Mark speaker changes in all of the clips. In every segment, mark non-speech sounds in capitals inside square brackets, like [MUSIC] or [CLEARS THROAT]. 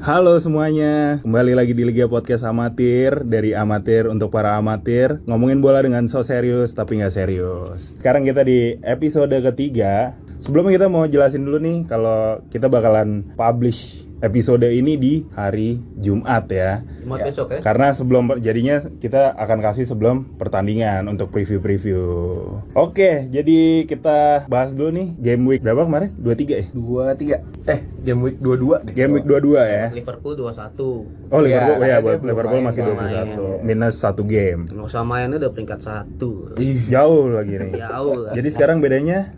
Speaker 1: Halo semuanya, kembali lagi di Liga Podcast Amatir Dari amatir untuk para amatir Ngomongin bola dengan so serius tapi nggak serius Sekarang kita di episode ketiga Sebelumnya kita mau jelasin dulu nih Kalau kita bakalan publish episode ini di hari Jumat ya
Speaker 2: Jumat besok ya.
Speaker 1: Karena sebelum jadinya kita akan kasih sebelum pertandingan untuk preview-preview. Oke, jadi kita bahas dulu nih game week berapa kemarin? 23 ya?
Speaker 3: dua tiga eh game week dua dua deh
Speaker 1: Game week 22 ya.
Speaker 2: Liverpool 21.
Speaker 1: Oh Liverpool
Speaker 3: Iya,
Speaker 1: ya,
Speaker 3: karena dia
Speaker 1: buat
Speaker 3: belum
Speaker 1: Liverpool
Speaker 3: main,
Speaker 1: masih
Speaker 2: belum
Speaker 1: 21 minus satu game.
Speaker 2: Nggak usah main udah peringkat 1.
Speaker 3: Ih,
Speaker 1: Jauh lagi nih.
Speaker 2: Jauh lah.
Speaker 1: Jadi sekarang bedanya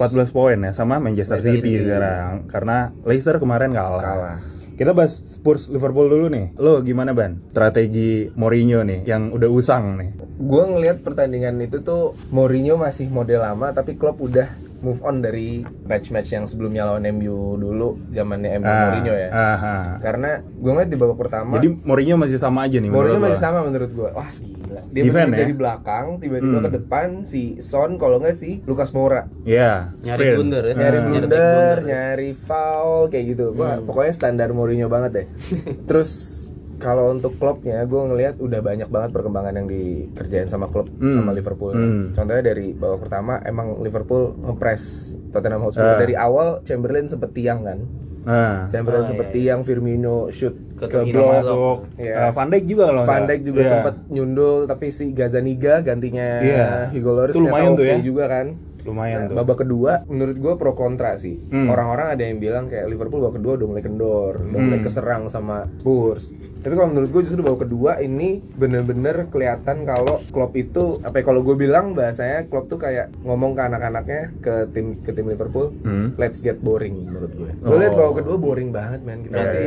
Speaker 2: 14.
Speaker 1: 14 poin ya sama Manchester City sekarang karena Leicester kemarin kalah.
Speaker 3: Kalah.
Speaker 1: Kita bahas Spurs Liverpool dulu nih. Lo gimana Ban? Strategi Mourinho nih yang udah usang nih.
Speaker 3: gue ngelihat pertandingan itu tuh Mourinho masih model lama tapi Klopp udah move on dari match-match yang sebelumnya lawan MU dulu zamannya MU
Speaker 1: Ah,
Speaker 3: Mourinho ya
Speaker 1: aha.
Speaker 3: karena gue ngeliat di babak pertama
Speaker 1: Jadi Mourinho masih sama aja nih menurut
Speaker 3: Mourinho
Speaker 1: lo?
Speaker 3: masih sama menurut gue wah gila dia
Speaker 1: Defend
Speaker 3: berdiri
Speaker 1: ya? Hmm.
Speaker 3: dari belakang tiba-tiba ke depan si Son kalau nggak si Lucas Moura
Speaker 1: Iya.
Speaker 2: Nyari
Speaker 1: sprint.
Speaker 2: blunder ya.
Speaker 3: nyari
Speaker 2: big
Speaker 3: blunder, Eh, nyari foul kayak gitu. Wah,
Speaker 1: Hmm.
Speaker 3: pokoknya standar Mourinho banget
Speaker 1: [LAUGHS]
Speaker 3: deh. Terus kalau untuk klubnya, gue ngelihat udah banyak banget perkembangan yang dikerjain sama klub sama Liverpool.
Speaker 1: Hmm.
Speaker 3: Contohnya dari babak pertama emang Liverpool ngepres Tottenham Hotspur
Speaker 1: Ah.
Speaker 3: dari awal Chamberlain sempet tiang kan.
Speaker 1: Nah.
Speaker 3: Chamberlain
Speaker 2: Ah,
Speaker 3: sempet
Speaker 2: iya, iya.
Speaker 3: tiang, Firmino shoot
Speaker 2: Ke
Speaker 3: ke,
Speaker 2: kiri
Speaker 3: blok.
Speaker 1: Masuk.
Speaker 3: Iya.
Speaker 1: Eh, Van Dijk juga kalau
Speaker 3: Van
Speaker 1: nggak
Speaker 3: Dijk juga
Speaker 1: Iya.
Speaker 3: sempet nyundul tapi si Gazaniga gantinya
Speaker 1: Iya.
Speaker 3: Hugo Lloris
Speaker 1: Itu lumayan
Speaker 3: ternyata
Speaker 1: tuh ya.
Speaker 3: oke juga kan.
Speaker 1: lumayan
Speaker 3: Nah,
Speaker 1: tuh.
Speaker 3: babak kedua menurut gue pro kontra sih.
Speaker 1: Hmm.
Speaker 3: Orang-orang ada yang bilang kayak Liverpool babak kedua udah mulai kendor, udah mulai
Speaker 1: Hmm.
Speaker 3: keserang sama Spurs. Tapi kalau menurut gue justru babak kedua ini bener-bener kelihatan kalau Klopp itu apa ya kalau gue bilang bahasanya Klopp tuh kayak ngomong ke anak-anaknya ke tim ke tim Liverpool,
Speaker 1: Hmm.
Speaker 3: let's get boring menurut gue.
Speaker 1: Oh. Iya,
Speaker 3: Gue liat babak kedua boring banget men gitu. kita.
Speaker 2: Berarti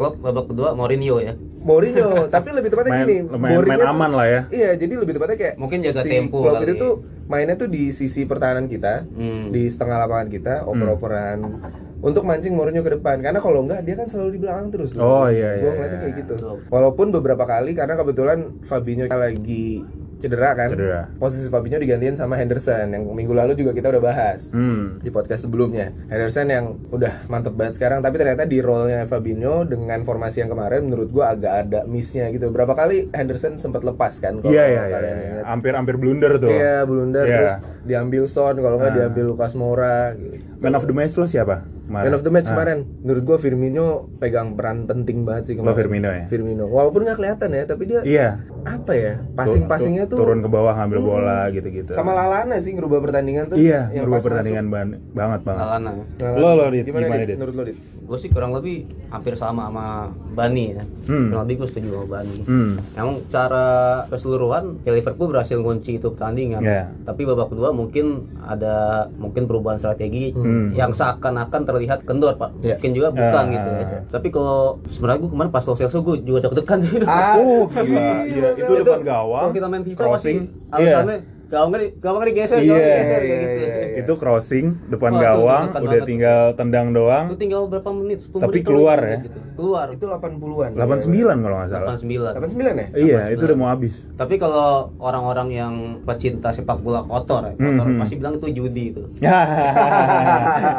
Speaker 2: klub babak kedua Mourinho ya.
Speaker 3: Mourinho, [LAUGHS] tapi lebih tepatnya
Speaker 1: Main-
Speaker 3: gini,
Speaker 1: main-
Speaker 3: boringnya
Speaker 1: main
Speaker 3: tuh-
Speaker 1: aman lah ya.
Speaker 3: Iya, jadi lebih tepatnya kayak
Speaker 2: Mungkin jaga
Speaker 3: si
Speaker 2: tempo
Speaker 3: Klopp
Speaker 2: kali. ya.
Speaker 3: itu tuh mainnya tuh di sisi pertahanan kita,
Speaker 2: Hmm.
Speaker 3: di setengah lapangan kita,
Speaker 1: Hmm.
Speaker 3: oper-operan untuk mancing Mourinho ke depan. Karena kalau enggak dia kan selalu di belakang terus.
Speaker 1: Oh, iya, iya,
Speaker 3: Gua ngeliatnya
Speaker 1: iya.
Speaker 3: kayak gitu.
Speaker 2: Betul.
Speaker 3: Walaupun beberapa kali karena kebetulan Fabinho lagi cedera kan.
Speaker 1: Cedera.
Speaker 3: Posisi Fabinho digantiin sama Henderson yang minggu lalu juga kita udah bahas
Speaker 1: Hmm.
Speaker 3: di podcast sebelumnya Henderson yang udah mantep banget sekarang tapi ternyata di role-nya Fabinho dengan formasi yang kemarin menurut gua agak ada miss-nya gitu berapa kali Henderson sempat lepas kan kalau
Speaker 1: Iya iya iya.
Speaker 3: kalian
Speaker 1: iya.
Speaker 3: ingat.
Speaker 1: Hampir-hampir blunder tuh.
Speaker 3: Iya, blunder
Speaker 1: Iya. Nah.
Speaker 3: terus diambil Son kalau nggak diambil Lucas Moura gitu.
Speaker 1: Man of the match lo siapa? Kemarin? Nah.
Speaker 3: Man of the match kemarin, menurut gua Firmino pegang peran penting banget sih
Speaker 1: Lo
Speaker 3: kemarin.
Speaker 1: Firmino ya?
Speaker 3: Firmino, walaupun nggak kelihatan ya, tapi dia
Speaker 1: Iya.
Speaker 3: apa ya, passing-passingnya tuh Hmm.
Speaker 1: turun ke bawah ngambil bola gitu-gitu.
Speaker 3: sama Lalana sih ngerubah pertandingan tuh.
Speaker 1: Iya,
Speaker 3: yang
Speaker 1: berubah
Speaker 3: pas masuk.
Speaker 1: pertandingan ban- banget banget.
Speaker 2: Alana.
Speaker 3: Lalana.
Speaker 1: Lo, lo, Dit,
Speaker 3: gimana,
Speaker 1: gimana,
Speaker 3: Dit?
Speaker 1: Dit?
Speaker 3: Menurut lo, Dit?
Speaker 2: Gue sih kurang lebih hampir sama sama Bani ya. Kurang lebih gue setuju sama Bani.
Speaker 1: Hmm.
Speaker 2: Yang cara keseluruhan ya Liverpool berhasil ngunci itu pertandingan.
Speaker 1: Iya.
Speaker 2: Tapi babak kedua mungkin ada mungkin perubahan strategi yang seakan-akan terlihat kendor pak.
Speaker 3: Iya.
Speaker 2: Mungkin juga bukan gitu ya. Tapi kalau sebenarnya gue kemarin pas Lo Celso gue juga deg-degan sih.
Speaker 3: Ah,
Speaker 1: Oh, gila. Iya, itu depan gawang.
Speaker 2: Kalau kita main FIFA
Speaker 1: crossing.
Speaker 2: pasti alasannya gawangnya di- gawangnya digeser, gawangnya
Speaker 1: Iya.
Speaker 2: digeser kayak
Speaker 3: Iya,
Speaker 2: gitu.
Speaker 3: iya, iya.
Speaker 1: Itu crossing depan
Speaker 2: Wah, tuh
Speaker 1: gawang,
Speaker 2: deg-degan
Speaker 1: udah
Speaker 2: banget.
Speaker 1: tinggal tendang doang.
Speaker 2: Itu tinggal berapa menit? 10
Speaker 1: Tapi
Speaker 2: menit
Speaker 1: keluar
Speaker 2: lagi,
Speaker 1: ya?
Speaker 2: gitu. Keluar.
Speaker 3: Itu 80-an.
Speaker 1: 89 kalau nggak salah.
Speaker 2: 89.
Speaker 3: 89 ya?
Speaker 1: Iya, itu udah mau habis. [LAUGHS]
Speaker 2: Tapi kalau orang-orang yang pecinta sepak bola kotor, ya, kotor pasti bilang itu judi itu.
Speaker 1: Iya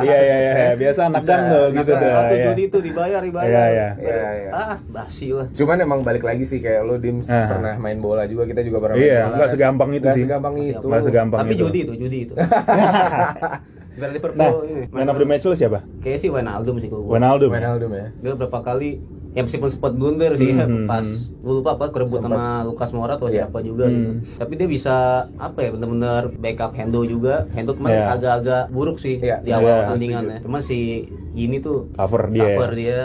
Speaker 1: iya iya, biasa anak gang tuh gitu tuh.
Speaker 2: Atau
Speaker 1: iya.
Speaker 2: judi itu dibayar, dibayar.
Speaker 1: Iya, iya.
Speaker 3: Iya, iya.
Speaker 2: Ah, basi lah.
Speaker 3: Cuman emang balik lagi sih kayak lo Dims
Speaker 1: Ah.
Speaker 3: pernah main bola juga, kita juga pernah
Speaker 1: Iya,
Speaker 3: main bola.
Speaker 1: nggak segampang itu
Speaker 3: Nggak
Speaker 1: sih.
Speaker 3: segampang itu.
Speaker 1: Nggak segampang
Speaker 2: Tapi
Speaker 1: itu.
Speaker 2: judi itu, judi
Speaker 1: [LAUGHS]
Speaker 2: itu. Biar Liverpool
Speaker 1: Nah,
Speaker 2: ini.
Speaker 1: man of the match lo siapa?
Speaker 2: Kayaknya sih Wijnaldum sih kalau gua.
Speaker 1: Wijnaldum.
Speaker 3: Wijnaldum ya.
Speaker 2: dia berapa kali ya meskipun sempat blunder
Speaker 1: Hmm,
Speaker 2: sih ya, pas gue lupa apa kerebut sama Lukas Moura atau
Speaker 3: Iya.
Speaker 2: siapa juga
Speaker 1: Hmm.
Speaker 2: gitu. tapi dia bisa apa ya benar-benar backup Hendo juga Hendo kemarin
Speaker 1: Iya.
Speaker 2: agak-agak buruk sih
Speaker 3: Iya.
Speaker 2: di awal
Speaker 1: Iya,
Speaker 2: pertandingan ya cuma si ini tuh
Speaker 1: Cover dia.
Speaker 2: cover dia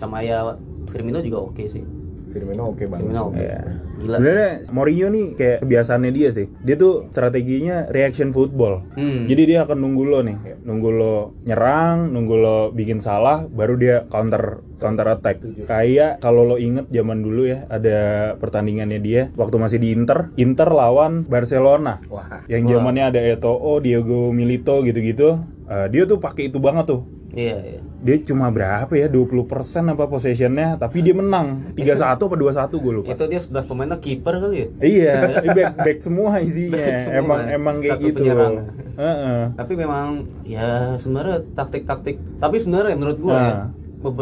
Speaker 2: sama ya Firmino juga oke sih
Speaker 3: Firmino oke banget.
Speaker 2: Firmino oke
Speaker 1: Iya.
Speaker 2: gila
Speaker 1: Sebenarnya Mourinho nih kayak kebiasaannya dia sih. Dia tuh strateginya reaction football.
Speaker 2: Hmm.
Speaker 1: Jadi dia akan nunggu lo nih, nunggu lo nyerang, nunggu lo bikin salah, baru dia counter counter attack. Kayak kalau lo inget zaman dulu ya ada pertandingannya dia waktu masih di Inter, Inter lawan Barcelona.
Speaker 3: Wah.
Speaker 1: Yang zamannya ada Eto'o, Diego Milito gitu-gitu. Eh, dia tuh pakai itu banget tuh.
Speaker 2: iya iya
Speaker 1: Dia cuma berapa ya? 20% apa possessionnya, tapi dia menang. 3-1 apa 2-1 gue lupa.
Speaker 2: itu dia 11 pemainnya kiper kali ya
Speaker 1: Iya, ini back, back semua isinya.
Speaker 2: Back semua.
Speaker 1: Emang emang kayak
Speaker 2: Satu
Speaker 1: gitu.
Speaker 2: penyerang.
Speaker 1: Heeh.
Speaker 2: tapi memang ya sebenarnya taktik-taktik tapi sebenarnya menurut gua
Speaker 1: Nah.
Speaker 2: ya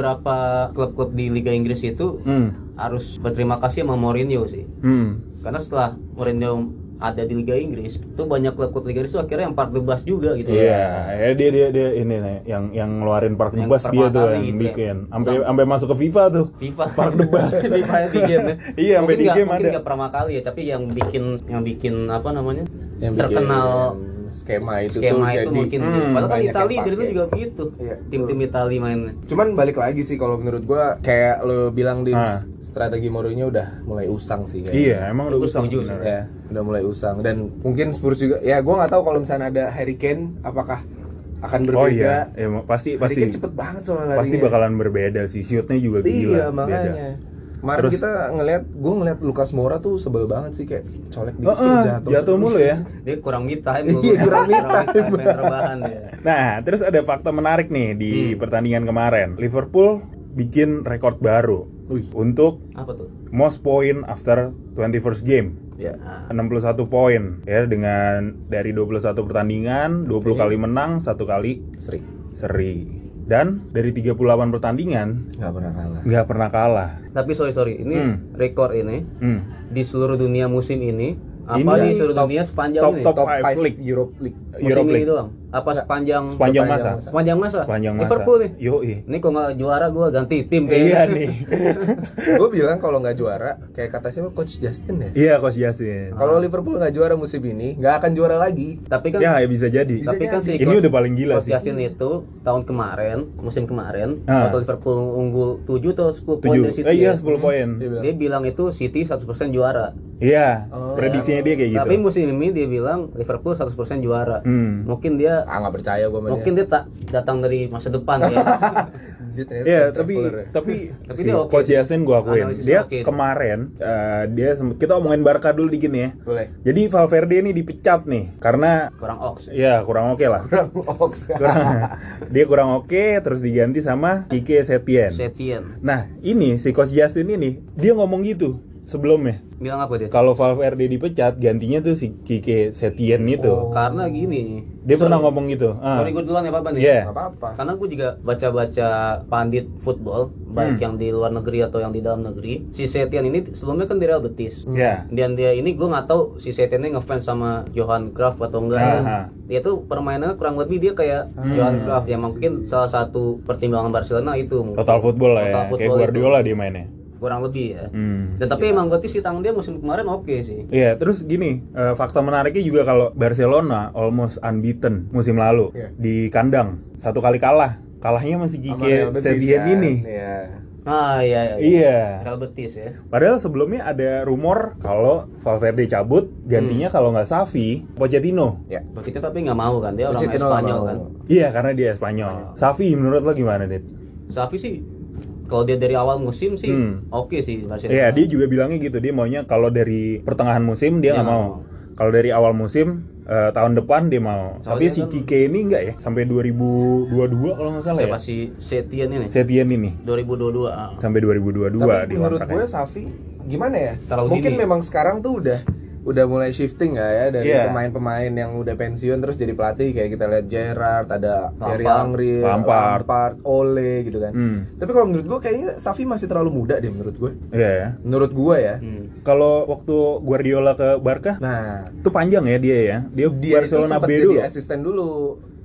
Speaker 2: beberapa klub-klub di Liga Inggris itu
Speaker 1: Hmm.
Speaker 2: harus berterima kasih sama Mourinho sih.
Speaker 1: Hmm.
Speaker 2: Karena setelah Mourinho ada di Liga Inggris, itu banyak klub-klub Liga Inggris tuh akhirnya yang part the bus juga gitu.
Speaker 1: Iya, ya dia dia dia ini nih yang yang ngeluarin Park
Speaker 2: Yang
Speaker 1: Debas dia
Speaker 2: pertama
Speaker 1: tuh
Speaker 2: kali
Speaker 1: yang
Speaker 2: gitu ya.
Speaker 1: bikin. Sampai sampai masuk ke FIFA tuh.
Speaker 2: FIFA
Speaker 1: Park the Bus.
Speaker 2: [LAUGHS] FIFA yang bikin ya.
Speaker 1: [LAUGHS] Iya, sampai di
Speaker 2: Mungkin nggak-
Speaker 1: game
Speaker 2: mungkin
Speaker 1: ada.
Speaker 2: nggak pertama kali ya tapi yang bikin yang bikin apa namanya
Speaker 3: Yang bikin
Speaker 2: terkenal
Speaker 1: iya.
Speaker 3: skema itu
Speaker 2: skema
Speaker 3: tuh
Speaker 2: itu
Speaker 3: jadi
Speaker 2: mungkin
Speaker 1: hmm,
Speaker 2: padahal kan
Speaker 3: banyak
Speaker 2: Itali
Speaker 3: yang
Speaker 2: dari itu
Speaker 3: pakai.
Speaker 2: juga begitu
Speaker 3: Iya,
Speaker 2: tim-tim Itali mainnya
Speaker 3: Cuman balik lagi sih kalau menurut gua kayak lo bilang di
Speaker 1: Ah.
Speaker 3: strategi Mourinho udah mulai usang sih kayaknya.
Speaker 1: Iya, emang udah
Speaker 2: Aku
Speaker 1: usang
Speaker 2: setuju Iya.
Speaker 1: bener.
Speaker 3: Ya, udah mulai usang dan mungkin Spurs juga. Ya, gua nggak tahu kalau misalnya ada Harry Kane apakah akan berbeda.
Speaker 1: Oh iya, ya, pasti
Speaker 3: Harry
Speaker 1: pasti
Speaker 3: Kane cepet banget soalnya larinya.
Speaker 1: pasti bakalan berbeda sih. Shootnya juga gila.
Speaker 3: Iya,
Speaker 1: beda.
Speaker 3: makanya. Kemarin
Speaker 1: Terus-
Speaker 3: kita ngelihat, gua ngelihat Lukas Moura tuh sebel banget sih kayak colek dikit
Speaker 1: Oh, eh,
Speaker 3: jatuh.
Speaker 1: jatuh mulu ya.
Speaker 2: dia kurang me time
Speaker 3: Iya, kurang me time.
Speaker 2: main rebahan dia
Speaker 1: Nah, terus ada fakta menarik nih di
Speaker 2: Hmm.
Speaker 1: pertandingan kemarin. Liverpool bikin rekor baru
Speaker 3: Wih.
Speaker 1: untuk
Speaker 2: apa tuh
Speaker 1: most point after 21st game.
Speaker 3: Ya.
Speaker 2: Nah,
Speaker 1: 61 poin ya dengan dari 21 pertandingan, 20 kali menang, satu kali
Speaker 3: Seri.
Speaker 1: seri. Dan dari 38 pertandingan
Speaker 3: Nggak pernah kalah.
Speaker 1: nggak pernah kalah.
Speaker 2: tapi sorry sorry ini
Speaker 1: Hmm.
Speaker 2: rekor ini
Speaker 1: Hmm.
Speaker 2: di seluruh dunia musim ini apa
Speaker 1: Ini
Speaker 2: di seluruh
Speaker 1: top-
Speaker 2: dunia sepanjang
Speaker 1: top-
Speaker 2: ini
Speaker 1: top
Speaker 3: Top
Speaker 1: Five
Speaker 3: 5
Speaker 1: League.
Speaker 3: Europe League.
Speaker 2: musim
Speaker 1: Europe
Speaker 2: ini
Speaker 1: League.
Speaker 2: doang apa sepanjang
Speaker 1: Sepanjang masa.
Speaker 2: sepanjang masa
Speaker 1: Sepanjang masa.
Speaker 2: Liverpool nih
Speaker 1: Yoi.
Speaker 2: ini kok nggak juara gua ganti tim kayaknya
Speaker 1: Iya nih.
Speaker 2: [LAUGHS]
Speaker 3: gue bilang kalau nggak juara, kayak kata siapa Coach Justin ya.
Speaker 1: Iya Coach Yasin.
Speaker 3: Kalau Liverpool nggak juara musim ini, nggak akan juara lagi.
Speaker 2: tapi kan
Speaker 1: Ya, ya bisa jadi.
Speaker 3: Bisa
Speaker 2: tapi kan si
Speaker 1: Ini
Speaker 2: Coach-
Speaker 1: udah paling gila
Speaker 2: Coach
Speaker 1: sih.
Speaker 2: Yasin itu tahun kemarin, musim kemarin,
Speaker 1: Ah.
Speaker 2: waktu Liverpool unggul 7 atau 10 poin dari
Speaker 1: 7.
Speaker 2: City.
Speaker 1: Eh iya
Speaker 2: ya.
Speaker 1: 10 poin.
Speaker 3: Dia bilang,
Speaker 2: Dia bilang itu City 100% juara.
Speaker 1: Iya, prediksinya dia kayak gitu.
Speaker 2: Oh, Tapi musim ini dia bilang Liverpool 100% juara.
Speaker 1: Hmm.
Speaker 2: Mungkin dia
Speaker 3: ah nggak percaya gue
Speaker 2: mungkin dia tak datang dari masa depan
Speaker 1: [LAUGHS]
Speaker 2: ya.
Speaker 3: dia ternyata
Speaker 1: Iya,
Speaker 3: time
Speaker 1: tapi
Speaker 3: traveler ya.
Speaker 2: [LAUGHS]
Speaker 1: tapi
Speaker 2: Tapi
Speaker 1: si
Speaker 2: dia oke
Speaker 1: Coach
Speaker 2: sih.
Speaker 1: Yasin gua akuin.
Speaker 2: Analisis
Speaker 1: Dia
Speaker 2: oke.
Speaker 1: kemarin eh, dia sempet- kita omongin Barca dulu dikit nih ya.
Speaker 3: boleh.
Speaker 1: Jadi Valverde ini dipecat nih karena
Speaker 2: Kurang ox.
Speaker 1: ya kurang oke
Speaker 2: [LAUGHS]
Speaker 1: lah.
Speaker 3: Kurang ox.
Speaker 1: Kurang- [LAUGHS] dia kurang oke terus diganti sama Kike Setien.
Speaker 2: Setien.
Speaker 1: Nah, ini si Coach Justin ini dia ngomong gitu sebelumnya.
Speaker 2: Bilang apa dia?
Speaker 1: Kalau Valverde dipecat, gantinya tuh si Kike Setien itu.
Speaker 2: Karena gini.
Speaker 1: Dia pernah ngomong gitu. Ah.
Speaker 2: Oh. Sorry gue duluan ya Papa nih.
Speaker 1: Iya.
Speaker 3: Nggak apa-apa.
Speaker 2: Karena gue juga baca-baca pandit football,
Speaker 1: Hmm.
Speaker 2: baik yang di luar negeri atau yang di dalam negeri. Si Setian ini sebelumnya kan di Real Betis.
Speaker 1: Iya.
Speaker 2: Dan dia ini gue nggak tahu si Setian ini ngefans sama Johan Cruyff atau enggak. ya.
Speaker 1: Aha.
Speaker 2: Dia tuh permainannya kurang lebih dia kayak
Speaker 1: Hmm.
Speaker 2: Johan Cruyff ya mungkin salah satu pertimbangan Barcelona itu. mungkin.
Speaker 1: Total football lah ya.
Speaker 2: Total
Speaker 1: Kayak
Speaker 2: football
Speaker 1: Guardiola dia mainnya.
Speaker 2: itu. kurang lebih ya.
Speaker 1: Hmm.
Speaker 2: Dan tapi emang berarti si tangan dia musim kemarin oke sih.
Speaker 1: Iya, terus gini, eh, fakta menariknya juga kalau Barcelona almost unbeaten musim lalu
Speaker 3: Iya.
Speaker 1: di kandang. Satu kali kalah. Kalahnya masih
Speaker 3: Sama Real
Speaker 1: Kike
Speaker 3: Betis,
Speaker 1: Setien
Speaker 3: kan?
Speaker 1: ini.
Speaker 3: Iya.
Speaker 2: Ah iya.
Speaker 1: Iya.
Speaker 2: Real Betis ya.
Speaker 1: Padahal sebelumnya ada rumor kalau Valverde cabut, gantinya
Speaker 3: Hmm.
Speaker 1: kalau nggak Safi, Pochettino.
Speaker 3: Ya.
Speaker 2: Begitu tapi nggak mau kan dia orang
Speaker 3: Pochettino
Speaker 2: Spanyol
Speaker 3: nggak
Speaker 2: kan.
Speaker 3: mau.
Speaker 1: Iya, karena dia Spanyol. Safi menurut lo gimana, Dit?
Speaker 2: Safi sih kalau dia dari awal musim sih
Speaker 1: Hmm.
Speaker 2: oke sih Barcelona.
Speaker 1: Iya, dia juga bilangnya gitu. Dia maunya kalau dari pertengahan musim dia Iya,
Speaker 2: Dia
Speaker 1: nggak
Speaker 2: nggak
Speaker 1: mau. Kalau dari awal musim eh, tahun depan dia mau. Tapi si
Speaker 2: kan-
Speaker 1: Kike ini nggak ya sampai 2022 kalau nggak salah
Speaker 2: Siapa
Speaker 1: ya.
Speaker 2: sih Setien ini?
Speaker 1: Setien ini
Speaker 2: 2022. ah.
Speaker 1: sampai 2022
Speaker 3: Tapi
Speaker 1: di
Speaker 3: menurut
Speaker 1: kontraknya.
Speaker 3: gue Safi gimana ya?
Speaker 2: Terlalu
Speaker 3: Mungkin
Speaker 2: dini.
Speaker 3: memang sekarang tuh udah udah mulai shifting nggak ya dari
Speaker 1: Iya.
Speaker 3: pemain-pemain yang udah pensiun terus jadi pelatih kayak kita lihat Gerrard, ada Thierry
Speaker 2: Lampard.
Speaker 3: Henry,
Speaker 1: Lampard.
Speaker 3: Ole gitu kan.
Speaker 1: Hmm.
Speaker 3: Tapi kalau menurut gue kayaknya Safi masih terlalu muda deh menurut gue.
Speaker 1: Iya ya.
Speaker 3: Menurut gue ya.
Speaker 2: Hmm.
Speaker 1: Kalau waktu Guardiola ke Barca
Speaker 3: Nah,
Speaker 1: itu panjang ya dia ya. Dia,
Speaker 3: dia
Speaker 1: Barcelona
Speaker 3: itu sempat
Speaker 1: B
Speaker 3: jadi
Speaker 1: dulu.
Speaker 3: asisten dulu.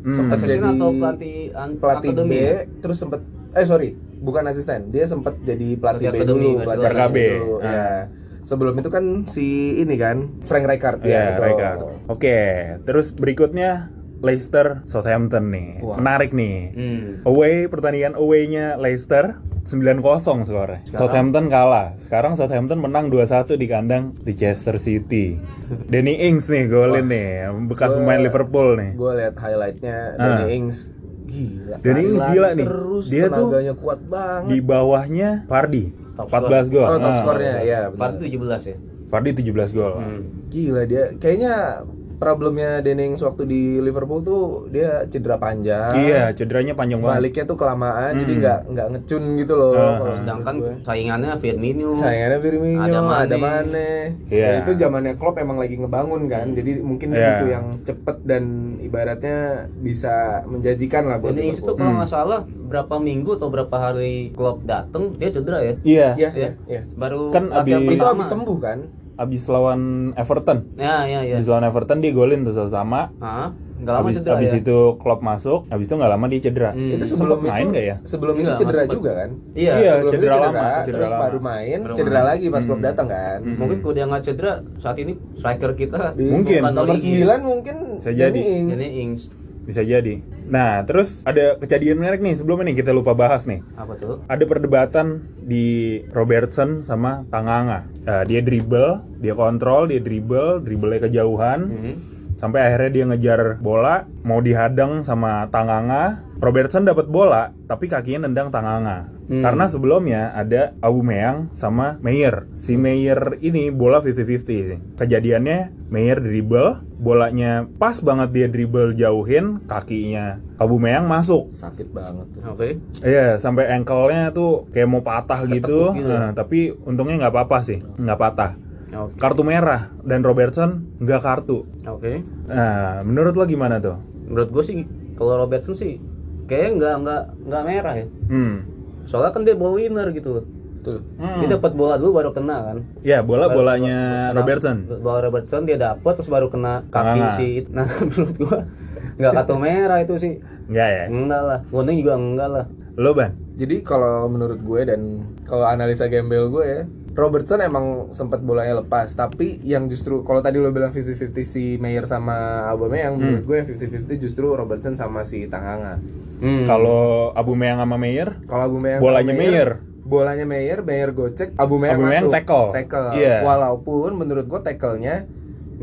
Speaker 1: Hmm.
Speaker 3: Sempat
Speaker 2: Asisten
Speaker 3: jadi
Speaker 2: atau pelatih an-
Speaker 3: pelatih
Speaker 2: akademi
Speaker 3: B,
Speaker 2: ya?
Speaker 3: terus sempat eh sorry, bukan asisten. Dia sempat jadi pelatih
Speaker 2: Pelatih
Speaker 3: B
Speaker 2: akademi,
Speaker 3: dulu,
Speaker 2: nggak
Speaker 3: pelatih
Speaker 2: salah.
Speaker 1: RKB,
Speaker 3: dulu,
Speaker 1: ah.
Speaker 3: ya. Sebelum itu kan si ini kan Frank Rijkaard gitu.
Speaker 1: Iya,
Speaker 3: betul.
Speaker 1: Rijkaard. Oke, terus berikutnya Leicester Southampton nih.
Speaker 3: Wah.
Speaker 1: Menarik nih.
Speaker 2: Hmm.
Speaker 1: Away pertandingan away-nya Leicester 9-0 skornya. Southampton kalah. Sekarang Southampton menang 2-1 di kandang Leicester City. Danny Ings nih golin nih, bekas pemain Liverpool nih.
Speaker 3: Gue lihat highlightnya Danny Ings gila.
Speaker 1: Danny Ings
Speaker 3: lari
Speaker 1: gila nih.
Speaker 3: Terus
Speaker 1: Dia tuh
Speaker 3: tenaganya kuat banget.
Speaker 1: Di bawahnya Pardi
Speaker 2: Top
Speaker 1: 14 gol.
Speaker 3: Oh, top
Speaker 1: Ah.
Speaker 3: skornya ya. benar.
Speaker 2: Part 17 ya.
Speaker 1: Vardy 17 gol.
Speaker 2: Hmm.
Speaker 3: Gila dia. Kayaknya problemnya Deneng waktu di Liverpool tuh dia cedera panjang.
Speaker 1: Iya, cederanya panjang banget. Hmm.
Speaker 3: Baliknya tuh kelamaan jadi nggak nggak ngecun gitu loh. kalau
Speaker 2: Sedangkan
Speaker 3: menurut gue.
Speaker 2: saingannya Firmino.
Speaker 3: sayangnya Firmino
Speaker 2: Ada
Speaker 3: ada
Speaker 2: Mane.
Speaker 3: Mane.
Speaker 1: Iya.
Speaker 3: Ya, itu zamannya Klopp emang lagi ngebangun kan. Jadi mungkin
Speaker 1: Iya.
Speaker 3: itu yang cepet dan ibaratnya bisa menjanjikan lah buat
Speaker 2: Jadi Inggris itu
Speaker 3: Liverpool.
Speaker 2: kalau
Speaker 1: Hmm.
Speaker 2: nggak salah berapa minggu atau berapa hari Klopp dateng dia cedera ya.
Speaker 1: Iya.
Speaker 3: Iya,
Speaker 2: Iya.
Speaker 3: iya, iya.
Speaker 2: Baru
Speaker 1: Kan
Speaker 2: latihan
Speaker 1: abis-
Speaker 3: Itu
Speaker 2: pertama.
Speaker 3: habis sembuh kan?
Speaker 1: Abis lawan Everton.
Speaker 2: Ya, ya, ya.
Speaker 1: Abis lawan Everton dia golin tuh sama.
Speaker 2: Hah? Nggak lama
Speaker 1: Abis,
Speaker 2: cedera
Speaker 1: abis
Speaker 2: ya.
Speaker 1: itu Klopp masuk, abis itu nggak lama dia cedera.
Speaker 2: Hmm.
Speaker 3: Itu
Speaker 1: Sempet
Speaker 3: sebelum
Speaker 1: main
Speaker 3: itu-
Speaker 1: nggak ya?
Speaker 3: Sebelum
Speaker 2: Nggak,
Speaker 3: itu cedera
Speaker 2: nggak sempet.
Speaker 3: juga kan?
Speaker 2: Iya.
Speaker 1: Iya,
Speaker 3: Sebelum itu
Speaker 1: cedera lama, cedera
Speaker 3: terus
Speaker 1: lama. Hmm.
Speaker 3: baru main,
Speaker 2: Baru
Speaker 3: cedera
Speaker 2: main.
Speaker 3: lagi pas Klopp datang kan.
Speaker 2: Mungkin kalau dia nggak cedera saat ini striker kita
Speaker 1: Mungkin,
Speaker 2: bukan
Speaker 3: nomor
Speaker 2: Origi.
Speaker 3: 9 mungkin
Speaker 1: Bisa
Speaker 3: Danny
Speaker 1: jadi.
Speaker 3: Ings.
Speaker 2: Ini Ings.
Speaker 1: Bisa jadi. Nah, terus ada kejadian menarik nih sebelumnya nih kita lupa bahas nih.
Speaker 2: Apa tuh?
Speaker 1: Ada perdebatan di Robertson sama Tanganga. Nah, dia dribble, dia kontrol, dia dribble, dribblenya kejauhan. Sampai akhirnya dia ngejar bola, mau dihadang sama Tanganga. Robertson dapat bola, tapi kakinya nendang Tanganga. Karena sebelumnya ada Aubameyang sama Meyer. Si Meyer ini bola 50-50. Kejadiannya Meyer dribble, bolanya pas banget dia dribble jauhin, kakinya Aubameyang masuk.
Speaker 3: Sakit banget tuh.
Speaker 2: Oke.
Speaker 1: Iya, sampai ankle-nya tuh kayak mau patah gitu.
Speaker 2: gitu
Speaker 1: Nah, tapi untungnya nggak apa-apa sih, nggak patah.
Speaker 2: Oke.
Speaker 1: Kartu merah dan Robertson nggak kartu.
Speaker 2: Oke.
Speaker 1: Nah, menurut lo gimana tuh?
Speaker 2: Menurut gue sih kalau Robertson sih kayaknya nggak nggak nggak merah ya.
Speaker 1: Hmm.
Speaker 2: Soalnya kan dia ball winner gitu.
Speaker 3: Betul.
Speaker 2: Dia dapat bola dulu baru kena kan.
Speaker 1: Ya, bola bolanya
Speaker 2: Kena-
Speaker 1: Robertson.
Speaker 2: Bola Robertson dia dapat terus baru kena kaki
Speaker 1: Tangan.
Speaker 2: si itu. Nah, [LAUGHS] menurut gua nggak kartu merah itu sih.
Speaker 1: Nggak ya?
Speaker 2: Enggak lah. Kuning juga enggak lah.
Speaker 1: Lo ban?
Speaker 3: Jadi kalau menurut gue dan kalau analisa gembel gue ya, Robertson emang sempat bolanya lepas, tapi yang justru kalau tadi lo bilang 50-50 si Meyer sama
Speaker 1: Hmm.
Speaker 3: Aubameyang, menurut gue yang 50-50 justru Robertson sama si Tanganga.
Speaker 2: Hmm.
Speaker 1: Kalau Aubameyang sama Meyer,
Speaker 3: Kalau Aubameyang
Speaker 1: Bolanya
Speaker 3: sama
Speaker 1: Meyer.
Speaker 3: bolanya Meyer, Meyer gocek, Aubameyang,
Speaker 1: Aubameyang
Speaker 3: masuk.
Speaker 1: tackle. Iya.
Speaker 3: Walaupun menurut gue tackle-nya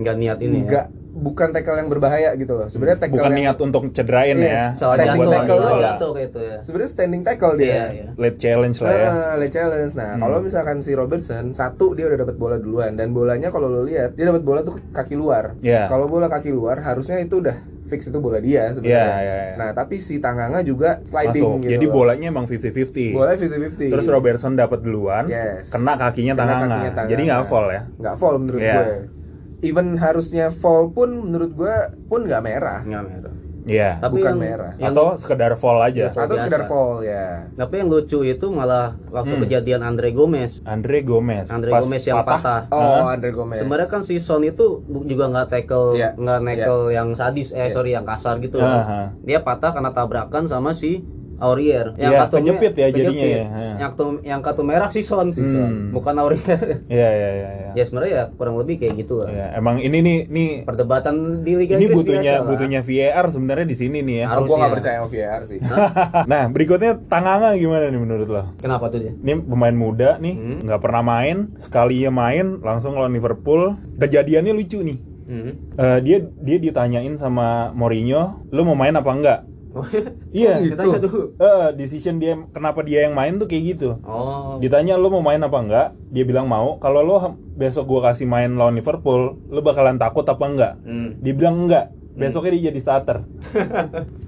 Speaker 2: Nggak niat ini ya.
Speaker 3: enggak bukan tackle yang berbahaya gitu loh. Sebenarnya tackle
Speaker 1: bukan
Speaker 3: yang-
Speaker 1: niat untuk cederain
Speaker 3: Yes,
Speaker 1: ya.
Speaker 2: Salah
Speaker 3: Standing
Speaker 2: jatuh,
Speaker 3: tackle
Speaker 2: salah
Speaker 3: doang.
Speaker 2: jatuh kayak itu ya.
Speaker 3: sebenarnya standing tackle dia.
Speaker 2: Iya, iya.
Speaker 1: Late challenge lah ya.
Speaker 3: Ah, late challenge. Nah, kalau misalkan si Robertson satu dia udah dapat bola duluan dan bolanya kalau lo lihat dia dapat bola tuh kaki luar.
Speaker 1: Iya.
Speaker 3: Kalau bola kaki luar harusnya itu udah fix itu bola dia sebenarnya.
Speaker 1: Iya, iya, iya.
Speaker 3: Nah, tapi si Tanganga juga sliding
Speaker 1: Masuk.
Speaker 3: gitu.
Speaker 1: Jadi
Speaker 3: loh.
Speaker 1: bolanya emang 50-50.
Speaker 3: bola 50-50.
Speaker 1: Terus Robertson dapat duluan,
Speaker 3: Yes.
Speaker 1: kena kakinya
Speaker 3: Karena
Speaker 1: Tanganga.
Speaker 3: kakinya Nah. Tanganga.
Speaker 1: Jadi nggak foul ya.
Speaker 3: Nggak fall menurut
Speaker 1: Iya.
Speaker 3: gue. Even harusnya fall pun menurut gue pun nggak merah.
Speaker 2: Nggak merah.
Speaker 1: Iya.
Speaker 2: Tapi
Speaker 3: Bukan
Speaker 2: yang-
Speaker 3: merah.
Speaker 2: yang- Iya.
Speaker 1: atau sekedar fall aja.
Speaker 2: Fall
Speaker 3: Atau
Speaker 2: biasa.
Speaker 3: sekedar fall ya.
Speaker 2: tapi yang lucu itu malah waktu kejadian Andre Gomez.
Speaker 1: Andre Gomez.
Speaker 2: Andre
Speaker 1: pas
Speaker 2: Gomez yang patah.
Speaker 3: Oh, Andre Gomez.
Speaker 2: Sebenarnya kan si Son itu bu- juga nggak tackle,
Speaker 3: Iya,
Speaker 2: nggak tackle yang sadis, eh sorry yang kasar gitu. loh.
Speaker 1: Aha.
Speaker 2: Dia patah karena tabrakan sama si Aurier. Yang
Speaker 1: Iya,
Speaker 2: me-
Speaker 1: kejepit ya jadinya ya,
Speaker 2: kejepit.
Speaker 1: ha.
Speaker 2: Yang kartu yang kartu merah si Son, Hmm. bukan
Speaker 3: [LAUGHS]
Speaker 2: Aurier.
Speaker 1: Iya iya iya. iya.
Speaker 2: ya sebenarnya ya kurang lebih kayak gitu lah.
Speaker 1: Iya, Emang ini nih nih
Speaker 2: Perdebatan di Liga
Speaker 1: ini
Speaker 2: Inggris
Speaker 1: butuhnya
Speaker 2: biasa lah.
Speaker 1: butuhnya VAR sebenarnya di sini nih ya.
Speaker 2: Harus.
Speaker 3: gue nggak
Speaker 2: harusnya.
Speaker 3: percaya sama VAR sih.
Speaker 1: [LAUGHS] nah berikutnya Tanganga gimana nih menurut lo?
Speaker 2: Kenapa tuh dia?
Speaker 1: Ini pemain muda
Speaker 2: Hmm.
Speaker 1: nih, nggak pernah main, sekalinya main langsung lawan Liverpool. Kejadiannya lucu nih.
Speaker 2: [LAUGHS] Hmm.
Speaker 1: Eh, dia dia ditanyain sama Mourinho, lu mau main apa enggak? Iya.
Speaker 2: Kita tanya
Speaker 3: Gitu.
Speaker 2: dulu.
Speaker 1: Eh, decision dia kenapa dia yang main tuh kayak gitu.
Speaker 2: Oh,
Speaker 1: Ditanya lo mau main apa enggak? Dia bilang mau. Kalau lo ha- besok gua kasih main lawan Liverpool, lo bakalan takut apa enggak?
Speaker 2: Hmm.
Speaker 1: Dia bilang enggak. Besoknya dia jadi
Speaker 2: [LAUGHS]
Speaker 1: starter.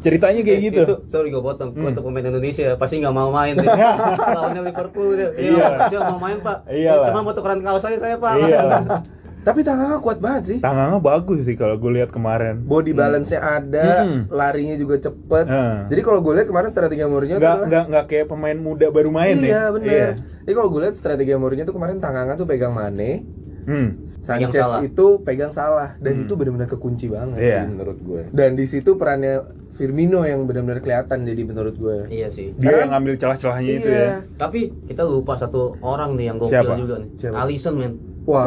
Speaker 1: Ceritanya kayak gitu. Hmm.
Speaker 2: itu sorry gue potong untuk pemain Indonesia pasti nggak mau
Speaker 1: [LAUGHS]
Speaker 2: main deh. lawannya Liverpool dia iya cuma mau main pak
Speaker 1: Iyalah.
Speaker 2: cuma mau tukeran kaos aja saya pak
Speaker 1: Iya.
Speaker 3: tapi Tanganga kuat banget sih.
Speaker 1: Tangannya bagus sih kalau gue lihat kemarin.
Speaker 3: body balance-nya ada,
Speaker 1: Hmm.
Speaker 3: larinya juga cepet.
Speaker 1: Hmm.
Speaker 3: Jadi kalau gue lihat kemarin strategi Mourinho
Speaker 1: Enggak
Speaker 3: adalah-
Speaker 1: enggak enggak kayak pemain muda baru main ya.
Speaker 3: Iya, benar. Jadi kalau gue lihat strategi Mourinho tuh kemarin tangannya tuh pegang Mane,
Speaker 1: Hmm.
Speaker 3: Sanchez
Speaker 2: Salah.
Speaker 3: itu pegang salah dan itu benar-benar kekunci banget
Speaker 1: Iya.
Speaker 3: sih menurut gue. Dan di situ perannya Firmino yang benar-benar kelihatan jadi menurut gue.
Speaker 2: [LAUGHS] iya
Speaker 3: Iya.
Speaker 2: sih
Speaker 1: Dia yang ngambil celah-celahnya itu
Speaker 2: iya.
Speaker 1: ya.
Speaker 2: tapi kita lupa satu orang nih yang gokil
Speaker 1: Siapa? Iya.
Speaker 2: juga nih
Speaker 3: Siapa?
Speaker 2: Alisson men
Speaker 3: Wah.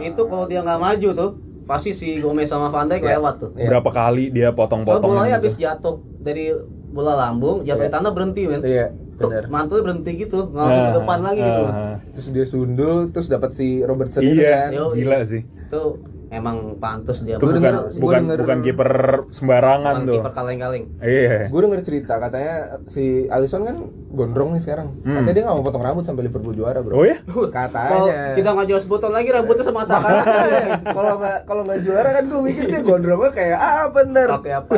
Speaker 2: itu kalau dia nggak maju tuh pasti si Gomez sama Van Dijk lewat tuh
Speaker 3: Iya.
Speaker 1: Berapa kali dia
Speaker 2: kalau
Speaker 1: potong-potong
Speaker 2: bolanya Oh, habis
Speaker 1: gitu.
Speaker 2: jatuh dari bola lambung jatuh di tanah berhenti men
Speaker 3: Iya,
Speaker 2: Tuh,
Speaker 3: benar.
Speaker 2: mantul berhenti gitu nggak langsung ke
Speaker 1: Ah,
Speaker 2: depan lagi gitu
Speaker 1: ah, ah.
Speaker 3: Terus dia sundul, terus dapat si Robertson itu
Speaker 1: Iya,
Speaker 3: kan.
Speaker 2: Yoi.
Speaker 1: gila sih.
Speaker 2: tuh emang pantas dia
Speaker 1: Itu
Speaker 3: Gua
Speaker 1: bukan
Speaker 3: denger- gua
Speaker 1: bukan
Speaker 3: denger-
Speaker 1: bukan kiper sembarangan
Speaker 2: Emang
Speaker 1: tuh.
Speaker 2: kiper kaleng-kaleng.
Speaker 1: Iya.
Speaker 3: kan. Gue denger cerita katanya si Alisson kan gondrong nih sekarang. Katanya dia gak mau potong rambut sampai Liverpool juara,
Speaker 1: Hmm.
Speaker 3: Bro.
Speaker 1: Oh ya?
Speaker 2: Kalau
Speaker 3: Katanya.
Speaker 2: kita nggak jelas botol lagi rambutnya
Speaker 1: [LAUGHS]
Speaker 2: sama tangan
Speaker 3: kalau nggak kalau nggak juara kan gue mikir dia gondrongnya kayak "Ah, apa ntar
Speaker 2: pakai apa.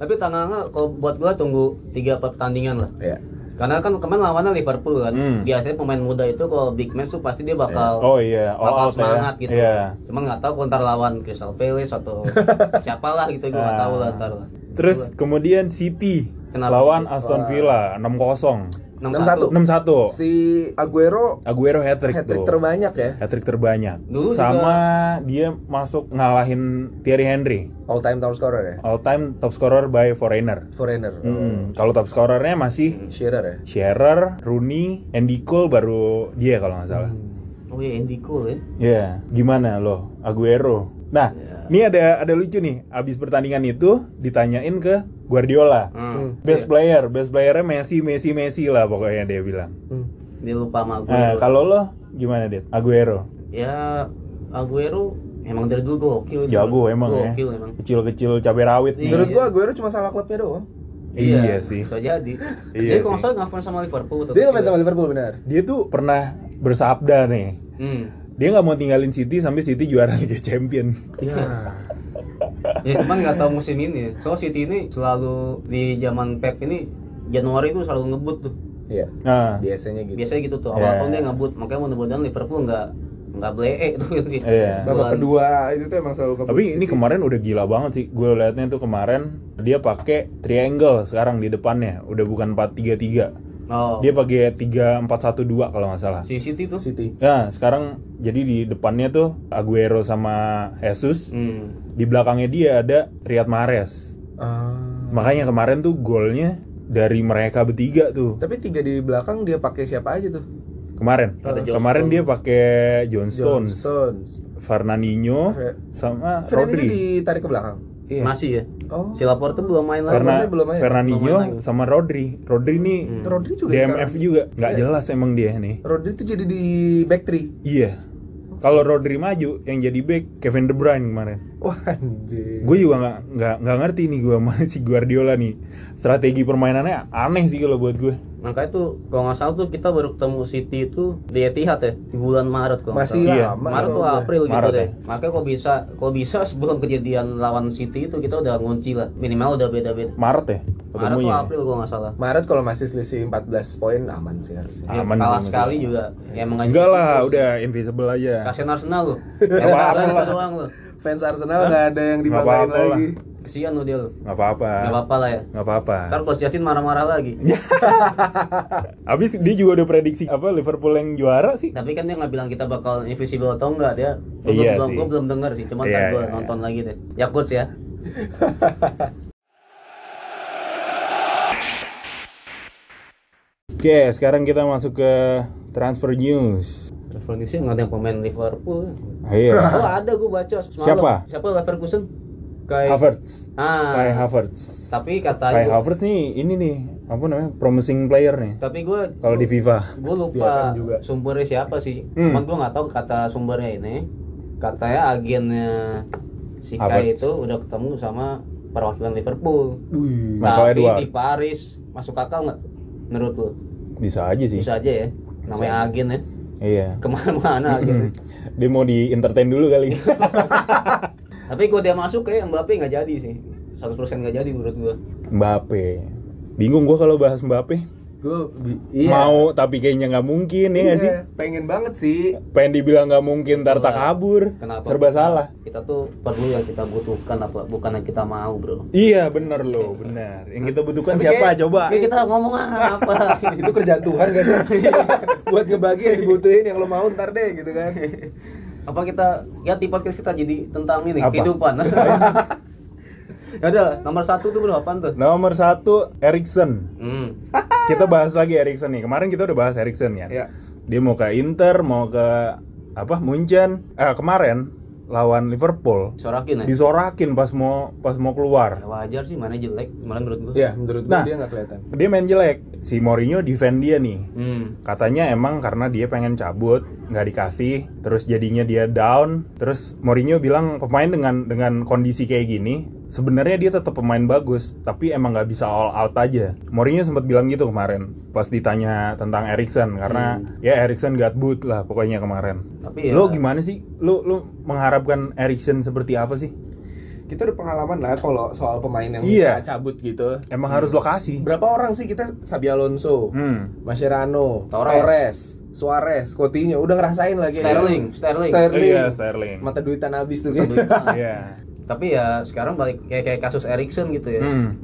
Speaker 2: Tapi tangannya kalau buat gua tunggu tiga pertandingan lah.
Speaker 3: ya
Speaker 2: Karena kan kemarin lawannya Liverpool kan.
Speaker 1: Hmm.
Speaker 2: Biasanya pemain muda itu kalau big match tuh pasti dia bakal
Speaker 1: Oh iya, all
Speaker 2: bakal
Speaker 1: out ya.
Speaker 2: semangat gitu.
Speaker 1: Iya.
Speaker 2: Cuman nggak tahu kontar lawan Crystal Palace
Speaker 1: [LAUGHS]
Speaker 2: atau siapalah gitu gua nggak tahu lah ntar lah.
Speaker 1: Terus kemudian City
Speaker 2: Kenapa
Speaker 1: lawan Aston Villa 6-0.
Speaker 2: 6-1.
Speaker 1: 6-1.
Speaker 3: si Aguero
Speaker 1: Aguero hat-trick
Speaker 3: hat
Speaker 1: tuh.
Speaker 3: terbanyak ya
Speaker 1: Hat-trick terbanyak.
Speaker 2: Dulu
Speaker 1: Sama dia masuk ngalahin Thierry Henry.
Speaker 3: all time top scorer ya
Speaker 1: All time top scorer by foreigner.
Speaker 3: foreigner
Speaker 2: Oh.
Speaker 1: Hmm, Kalau top scorernya masih
Speaker 3: Shearer
Speaker 2: Hmm.
Speaker 3: ya
Speaker 1: Shearer, Rooney, Andy Cole baru dia kalau nggak salah.
Speaker 2: Oh iya Andy Cole ya.
Speaker 1: Ya, gimana loh Aguero? Nah,
Speaker 2: Ya.
Speaker 1: ini ada ada lucu nih. Abis pertandingan itu ditanyain ke Guardiola.
Speaker 2: Hmm.
Speaker 1: Best player, best playernya Messi, Messi, Messi lah pokoknya dia bilang.
Speaker 3: Hmm.
Speaker 2: Dia lupa sama gue.
Speaker 1: Nah, kalau lo gimana, Dit? Aguero.
Speaker 2: ya Aguero emang dari dulu gokil.
Speaker 1: Jago emang ya.
Speaker 2: Gokil emang.
Speaker 1: Kecil-kecil cabai rawit nih.
Speaker 3: menurut gua Aguero cuma salah klubnya doang
Speaker 1: Iya, sih.
Speaker 2: Bisa jadi.
Speaker 1: Iya
Speaker 2: Dia kalau
Speaker 1: sih.
Speaker 2: nggak salah ngefans sama Liverpool. atau
Speaker 3: dia ngefans
Speaker 2: kecil.
Speaker 3: sama Liverpool benar
Speaker 1: Dia tuh pernah bersabda nih.
Speaker 2: Hmm.
Speaker 1: Dia nggak mau tinggalin City sampai City juara Liga Champion.
Speaker 3: ya
Speaker 2: Ya cuman nggak tahu musim ini. So City ini selalu di zaman Pep ini Januari itu selalu ngebut tuh.
Speaker 3: [LAUGHS] iya
Speaker 1: Nah,
Speaker 3: biasanya gitu
Speaker 2: Biasanya gitu tuh awal
Speaker 1: Iya.
Speaker 2: tahun dia ngebut. Makanya mudah-mudahan Liverpool nggak nggak blee eh, tuh ini.
Speaker 1: Iya.
Speaker 3: babak kedua itu tuh emang selalu
Speaker 1: Tapi ini kemarin udah gila banget sih. Gue liatnya tuh kemarin dia pakai triangle sekarang di depannya, udah bukan 4-3-3.
Speaker 2: Oh.
Speaker 1: Dia pakai 3-4-1-2 kalau nggak salah.
Speaker 2: Si City tuh.
Speaker 3: City
Speaker 1: Nah, sekarang jadi di depannya tuh Aguero sama Jesus,
Speaker 2: Hmm.
Speaker 1: di belakangnya dia ada Riyad Mahrez.
Speaker 3: Ah.
Speaker 1: Makanya kemarin tuh golnya dari mereka bertiga tuh.
Speaker 3: tapi tiga di belakang dia pakai siapa aja tuh
Speaker 1: Kemarin.
Speaker 2: Ada John
Speaker 1: Kemarin dia pakai John
Speaker 3: John
Speaker 1: Stones,
Speaker 3: Stones
Speaker 1: Fernandinho
Speaker 3: Fre-
Speaker 1: sama
Speaker 3: Freddy
Speaker 1: Rodri. Iya.
Speaker 3: ditarik ke belakang
Speaker 2: Masih ya.
Speaker 3: oh
Speaker 2: Si Laporte belum main lagi.
Speaker 1: Karena
Speaker 3: Rodri belum main. Hmm.
Speaker 1: Fernandinho
Speaker 2: Belum main lagi.
Speaker 1: sama Rodri. Rodri nih
Speaker 3: Rodri juga
Speaker 1: DMF
Speaker 3: sekarang. Iya.
Speaker 1: juga. Nggak jelas emang dia nih.
Speaker 3: Rodri tuh jadi di back three
Speaker 1: Iya. Kalau Rodri maju, yang jadi back Kevin De Bruyne kemarin.
Speaker 3: wah anjir
Speaker 1: Gue juga nggak nggak nggak ngerti nih gue sama [LAUGHS] si Guardiola nih. Strategi permainannya aneh sih kalau buat gue.
Speaker 2: Makanya tuh kalau nggak salah tuh kita baru ketemu City itu di Etihad ya di bulan Maret kalau nggak
Speaker 3: masih
Speaker 1: Iya.
Speaker 3: lama
Speaker 2: Maret
Speaker 3: sama
Speaker 2: tuh
Speaker 3: gue.
Speaker 2: April gitu
Speaker 1: Maret
Speaker 2: deh.
Speaker 1: ya.
Speaker 2: Makanya kok bisa kok bisa sebelum kejadian lawan City itu kita udah ngunci lah. Minimal udah beda-beda.
Speaker 1: Maret ya
Speaker 2: Maret tuh
Speaker 1: ketemunya.
Speaker 2: April kalau nggak salah.
Speaker 3: Maret kalau masih selisih 14 poin aman sih harusnya.
Speaker 2: Ya,
Speaker 1: Aman
Speaker 2: kalah
Speaker 1: sih,
Speaker 2: sekali juga. Ya emang nggak
Speaker 1: Enggak
Speaker 2: gitu.
Speaker 1: lah, udah invisible aja.
Speaker 2: Kasihan Arsenal
Speaker 1: [LAUGHS]
Speaker 2: lu.
Speaker 1: Nggak apa-apa
Speaker 2: Yang
Speaker 1: lah.
Speaker 2: doang lu.
Speaker 3: Fans Arsenal nggak ada yang
Speaker 1: Nggak
Speaker 3: dibanggain
Speaker 1: apa-apa
Speaker 3: lagi.
Speaker 2: Kasihan lu dia lu.
Speaker 1: Nggak apa-apa.
Speaker 2: Nggak apa-apa lah ya.
Speaker 1: Nggak apa-apa.
Speaker 2: Ntar Coach Justin marah-marah lagi.
Speaker 1: Iya. Abis dia juga udah prediksi apa Liverpool yang juara sih.
Speaker 2: Tapi kan dia nggak bilang kita bakal invisible atau enggak dia. Gua
Speaker 1: Iya
Speaker 2: belum,
Speaker 1: sih.
Speaker 2: gua belum denger sih. Cuman
Speaker 1: Iya,
Speaker 2: ntar gua
Speaker 1: iya, iya.
Speaker 2: nonton lagi deh. Ya coach ya.
Speaker 1: Oke, sekarang kita masuk ke transfer news.
Speaker 2: Liverpool sih nggak ada yang pemain Liverpool.
Speaker 1: Iya.
Speaker 2: Oh ada gua baca semalam.
Speaker 1: Siapa?
Speaker 2: Siapa Leverkusen? Kayak
Speaker 1: Havertz.
Speaker 2: Ah.
Speaker 1: Kai Havertz.
Speaker 2: tapi katanya
Speaker 1: Kai Havertz nih ini nih apa namanya promising player nih
Speaker 2: tapi gue
Speaker 1: kalau di FIFA.
Speaker 2: gue
Speaker 3: BFM
Speaker 2: lupa
Speaker 3: juga.
Speaker 2: sumbernya siapa sih
Speaker 1: Hmm.
Speaker 2: cuman gue nggak tahu kata sumbernya ini katanya agennya si Kai
Speaker 1: Havertz.
Speaker 2: itu udah ketemu sama perwakilan Liverpool
Speaker 3: Wih.
Speaker 1: Michael
Speaker 2: tapi
Speaker 1: Edwards. Iya.
Speaker 2: di Paris masuk akal nggak menurut lo
Speaker 1: Bisa aja sih.
Speaker 2: bisa aja ya namanya agen ya
Speaker 1: Iya.
Speaker 2: kemana-mana agen
Speaker 1: Dia mau di entertain dulu
Speaker 3: [LAUGHS]
Speaker 1: kali.
Speaker 2: tapi kalau dia masuk kayak Mbappe nggak jadi sih 100% nggak jadi menurut gue
Speaker 1: Mbappe. Bingung gua kalau bahas Mbappe.
Speaker 3: Gue bi- iya.
Speaker 1: Mau tapi kayaknya nggak mungkin ya nggak
Speaker 3: Iya,
Speaker 1: sih.
Speaker 3: Pengen banget sih.
Speaker 1: Pengen dibilang nggak mungkin ntar tak kabur.
Speaker 2: kenapa
Speaker 1: Serba salah.
Speaker 2: kita tuh perlu yang kita butuhkan apa bukan yang kita mau bro
Speaker 1: Iya bener loh bener. Yang kita butuhkan
Speaker 3: Tapi
Speaker 1: siapa
Speaker 3: kayak-
Speaker 1: coba?
Speaker 2: Oke, kita ngomong
Speaker 1: [LAUGHS]
Speaker 2: apa
Speaker 3: itu kerjaan Tuhan gak sih? Iya. Buat ngebagi yang dibutuhin yang lo mau ntar deh gitu kan.
Speaker 2: apa kita ya di podcast kita jadi tentang ini
Speaker 1: Apa? [LAUGHS]
Speaker 2: kehidupan [LAUGHS] ya udah nomor satu tuh bro apaan tuh
Speaker 1: Nomor satu Erikson.
Speaker 2: hmm.
Speaker 1: Kita bahas lagi Erikson nih. Kemarin kita udah bahas Erikson kan.
Speaker 3: Iya.
Speaker 1: Dia mau ke Inter, mau ke apa Munchen. Eh kemarin lawan Liverpool
Speaker 2: Sorakin ya?
Speaker 1: disorakin pas mau pas mau keluar.
Speaker 2: Ya, wajar sih, mana jelek, malah menurut gue.
Speaker 3: Iya, menurut gue
Speaker 1: Nah.
Speaker 3: dia nggak kelihatan.
Speaker 1: Dia main jelek. Si Mourinho defend dia nih.
Speaker 2: Hmm.
Speaker 1: Katanya emang karena dia pengen cabut, nggak dikasih, terus jadinya dia down. Terus Mourinho bilang pemain dengan dengan kondisi kayak gini, sebenarnya dia tetap pemain bagus, tapi emang nggak bisa all out aja. Mourinho sempat bilang gitu kemarin pas ditanya tentang Erikson karena ya Erikson gabut lah pokoknya kemarin.
Speaker 2: Tapi ya,
Speaker 1: Lo gimana sih? Lo lo mengharapkan Erikson seperti apa sih?
Speaker 3: Kita udah pengalaman lah kalau soal pemain yang
Speaker 1: Iya.
Speaker 3: bisa cabut gitu.
Speaker 1: Emang harus lokasi.
Speaker 3: Berapa orang sih kita Sabi Alonso,
Speaker 1: Hmm.
Speaker 3: Mascherano,
Speaker 2: Torres.
Speaker 3: Torres. Suarez, Coutinho, udah ngerasain lagi.
Speaker 2: Sterling, Sterling.
Speaker 3: Sterling.
Speaker 1: Iya, Sterling.
Speaker 3: Mata duitan habis tuh
Speaker 2: Mata
Speaker 3: kan. [LAUGHS]
Speaker 2: duitan.
Speaker 1: Iya.
Speaker 2: tapi ya sekarang balik kayak kayak kasus Erikson gitu ya.
Speaker 1: Hmm.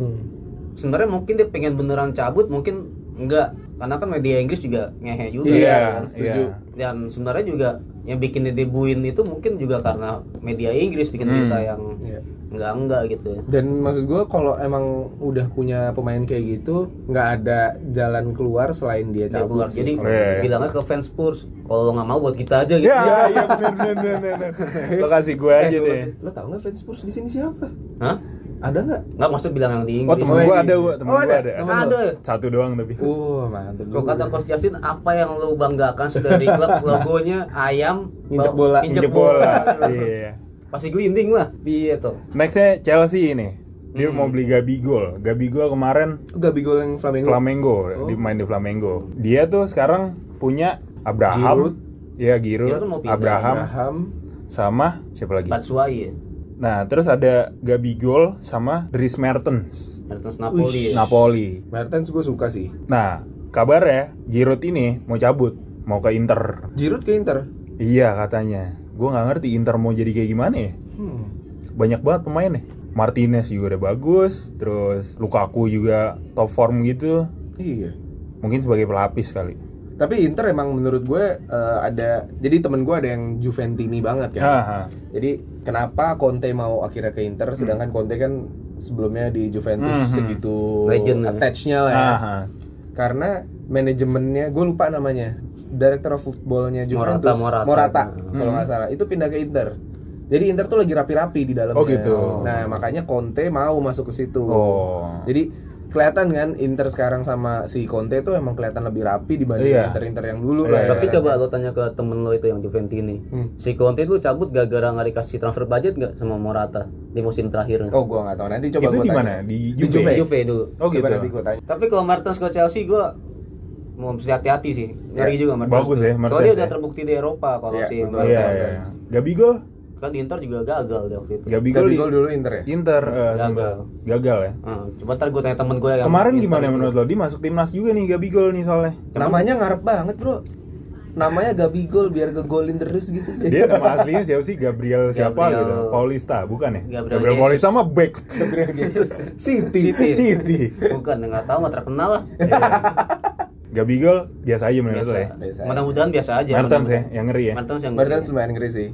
Speaker 2: Sebenarnya mungkin dia pengen beneran cabut, mungkin enggak. Karena kan media Inggris juga ngehe juga.
Speaker 1: Iya,
Speaker 2: kan.
Speaker 1: iya.
Speaker 2: Dan sebenarnya juga yang bikin dia debuin itu mungkin juga karena media Inggris
Speaker 1: Hmm.
Speaker 2: bikin berita yang
Speaker 3: Iya.
Speaker 2: enggak enggak gitu ya.
Speaker 3: Dan maksud gue kalau emang udah punya pemain kayak gitu, nggak ada jalan keluar selain dia
Speaker 2: Dia keluar.
Speaker 3: cabut.
Speaker 2: Jadi
Speaker 1: Iya, iya.
Speaker 2: bilangnya ke fans Spurs, kalau lo nggak mau buat kita aja gitu.
Speaker 1: Ya, iya benar benar benar. Lokasi gue aja deh.
Speaker 3: Lo tau nggak fans Spurs di sini siapa?
Speaker 2: Hah?
Speaker 3: Ada nggak?
Speaker 2: Nggak maksud bilang yang di
Speaker 1: Oh
Speaker 2: Inggris.
Speaker 1: temen
Speaker 3: Oh,
Speaker 1: gue
Speaker 3: iya.
Speaker 1: ada, gua. temen
Speaker 3: Oh,
Speaker 1: gue
Speaker 3: ada.
Speaker 1: ada.
Speaker 3: Temen
Speaker 2: ada.
Speaker 1: Satu doang tapi.
Speaker 3: Uh, mantep.
Speaker 2: Kalau kata Coach Justin, apa yang lo banggakan sudah di
Speaker 1: [LAUGHS]
Speaker 2: klub logonya ayam
Speaker 3: Injek
Speaker 2: bau-
Speaker 3: bola.
Speaker 1: Injek
Speaker 2: injek
Speaker 1: bola. Iya.
Speaker 2: Pasti gelinding lah. Iya tuh.
Speaker 1: Nextnya Chelsea ini. Dia mau beli Gabigol. Gabigol kemarin
Speaker 3: Gabigol yang Flamengo.
Speaker 1: Hmm. Flamengo, Oh. dia main di Flamengo. Dia tuh sekarang punya
Speaker 3: Giroud.
Speaker 1: Abraham, ya Giroud,
Speaker 2: Giroud kan mau pindah.
Speaker 1: Abraham,
Speaker 3: Abraham.
Speaker 1: sama siapa lagi?
Speaker 2: Batshuayi ya.
Speaker 1: Nah, terus ada Gabigol sama Dries Mertens,
Speaker 2: Mertens Napoli. ya.
Speaker 1: Napoli.
Speaker 3: Mertens gue suka sih.
Speaker 1: Nah, kabarnya Giroud ini mau cabut, mau ke Inter.
Speaker 3: Giroud ke Inter.
Speaker 1: Iya katanya. Gue nggak ngerti Inter mau jadi kayak gimana ya.
Speaker 3: Hmm.
Speaker 1: banyak banget pemain nih. Martinez juga udah bagus, terus Lukaku juga top form gitu.
Speaker 3: Iya.
Speaker 1: Mungkin sebagai pelapis kali.
Speaker 3: Tapi Inter emang menurut gue eh, ada jadi temen gue ada yang Juventini banget kan.
Speaker 1: Haha.
Speaker 3: Jadi kenapa Conte mau akhirnya ke Inter
Speaker 1: Hmm.
Speaker 3: sedangkan Conte kan sebelumnya di Juventus segitu
Speaker 1: kan
Speaker 2: Legend lah ya.
Speaker 3: attach-nya lah ya.
Speaker 1: Haha.
Speaker 3: Karena manajemennya gue lupa namanya. Director of footballnya Juventus
Speaker 2: Morata, Morata.
Speaker 1: Hmm.
Speaker 3: kalau nggak salah itu pindah ke Inter. Jadi Inter tuh lagi rapi-rapi di dalamnya.
Speaker 1: Oh, gitu.
Speaker 3: Nah makanya Conte mau masuk ke situ.
Speaker 1: Oh.
Speaker 3: Jadi kelihatan kan Inter sekarang sama si Conte tuh emang kelihatan lebih rapi dibanding
Speaker 1: Iya.
Speaker 3: Inter-Inter yang dulu
Speaker 1: Iya, Hmm.
Speaker 3: lah. ya.
Speaker 2: Tapi coba lo tanya ke temen lo itu yang Juventini. Si Conte itu cabut gara-gara nggak dikasih transfer budget nggak sama Morata di musim terakhirnya.
Speaker 3: Oh, gua nggak tahu. Nanti coba
Speaker 1: Itu
Speaker 3: gua
Speaker 1: di
Speaker 3: tanya.
Speaker 1: mana? Di
Speaker 2: Di
Speaker 1: Juve.
Speaker 2: Juve, Juve dulu.
Speaker 1: Oh
Speaker 3: Coba
Speaker 1: gitu.
Speaker 3: nanti gua tanya.
Speaker 2: Tapi kalau Mertens ke Chelsea gue mau mesti hati-hati sih. Ngeri juga Mertens.
Speaker 1: Bagus ya, Mertens
Speaker 2: Soalnya dia
Speaker 1: ya.
Speaker 2: udah terbukti di Eropa kalau
Speaker 3: Iya,
Speaker 2: si
Speaker 3: betul.
Speaker 2: Mertens.
Speaker 1: Iya, iya. Ya. Gabigol?
Speaker 2: Kan di Inter juga gagal deh waktu itu.
Speaker 1: Gabigol di
Speaker 3: Gabigol dulu Inter ya?
Speaker 1: Inter eh,
Speaker 2: Gagal.
Speaker 1: sempat. Gagal ya.
Speaker 2: Hmm, coba ntar gue tanya temen gue yang
Speaker 1: Kemarin gimana
Speaker 2: [LAUGHS]
Speaker 1: menurut lo? Dia masuk timnas juga nih Gabigol nih soalnya.
Speaker 3: Namanya ngarep banget, Bro. Namanya Gabigol biar ngegolin terus gitu.
Speaker 1: Dia
Speaker 3: [LAUGHS]
Speaker 1: nama aslinya siapa sih? Gabriel siapa
Speaker 2: Gabriel-
Speaker 1: gitu? Paulista bukan ya?
Speaker 2: Gabriel Jesus.
Speaker 1: Paulista mah back.
Speaker 3: Gabriel Jesus. City.
Speaker 2: City.
Speaker 1: City. Iya,
Speaker 2: Bukan, ya nggak tahu, nggak terkenal lah.
Speaker 1: Gabigol biasa aja menurut lo
Speaker 2: iya.
Speaker 1: ya.
Speaker 3: Biasa aja.
Speaker 2: Mudah-mudahan biasa aja.
Speaker 1: Mertens ya,
Speaker 2: Mudah-mudahan.
Speaker 1: yang ngeri ya.
Speaker 2: Mertens yang kan
Speaker 3: Mertens lumayan ngeri sih.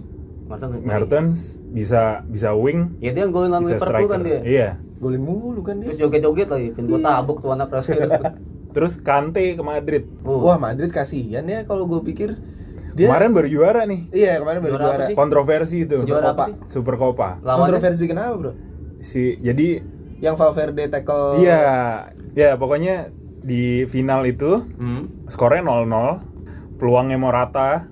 Speaker 2: Mertens.
Speaker 1: Mertens bisa bisa wing,
Speaker 2: Ya dia yang golin lawan
Speaker 1: bisa
Speaker 2: Liverpool
Speaker 1: striker.
Speaker 2: kan dia.
Speaker 1: Iya.
Speaker 3: Golin mulu kan
Speaker 2: Terus
Speaker 3: dia.
Speaker 2: joget-joget lagi, pin gue tabuk tuh anak Rasul.
Speaker 1: [LAUGHS] Terus Kante ke Madrid.
Speaker 3: Wah, Madrid kasihan ya kalau gue pikir. Dia
Speaker 1: Kemarin baru juara nih.
Speaker 3: Iya, kemarin baru
Speaker 2: Juara apa
Speaker 3: juara.
Speaker 2: sih?
Speaker 1: Kontroversi itu.
Speaker 2: Juara apa sih?
Speaker 1: Supercopa.
Speaker 2: Lawannya
Speaker 3: Kontroversi kenapa, Bro?
Speaker 1: Si jadi
Speaker 3: Yang Valverde
Speaker 2: Oh.
Speaker 3: tackle
Speaker 1: iya, ya pokoknya di final itu
Speaker 2: hmm.
Speaker 1: skornya 0-0. Peluangnya Morata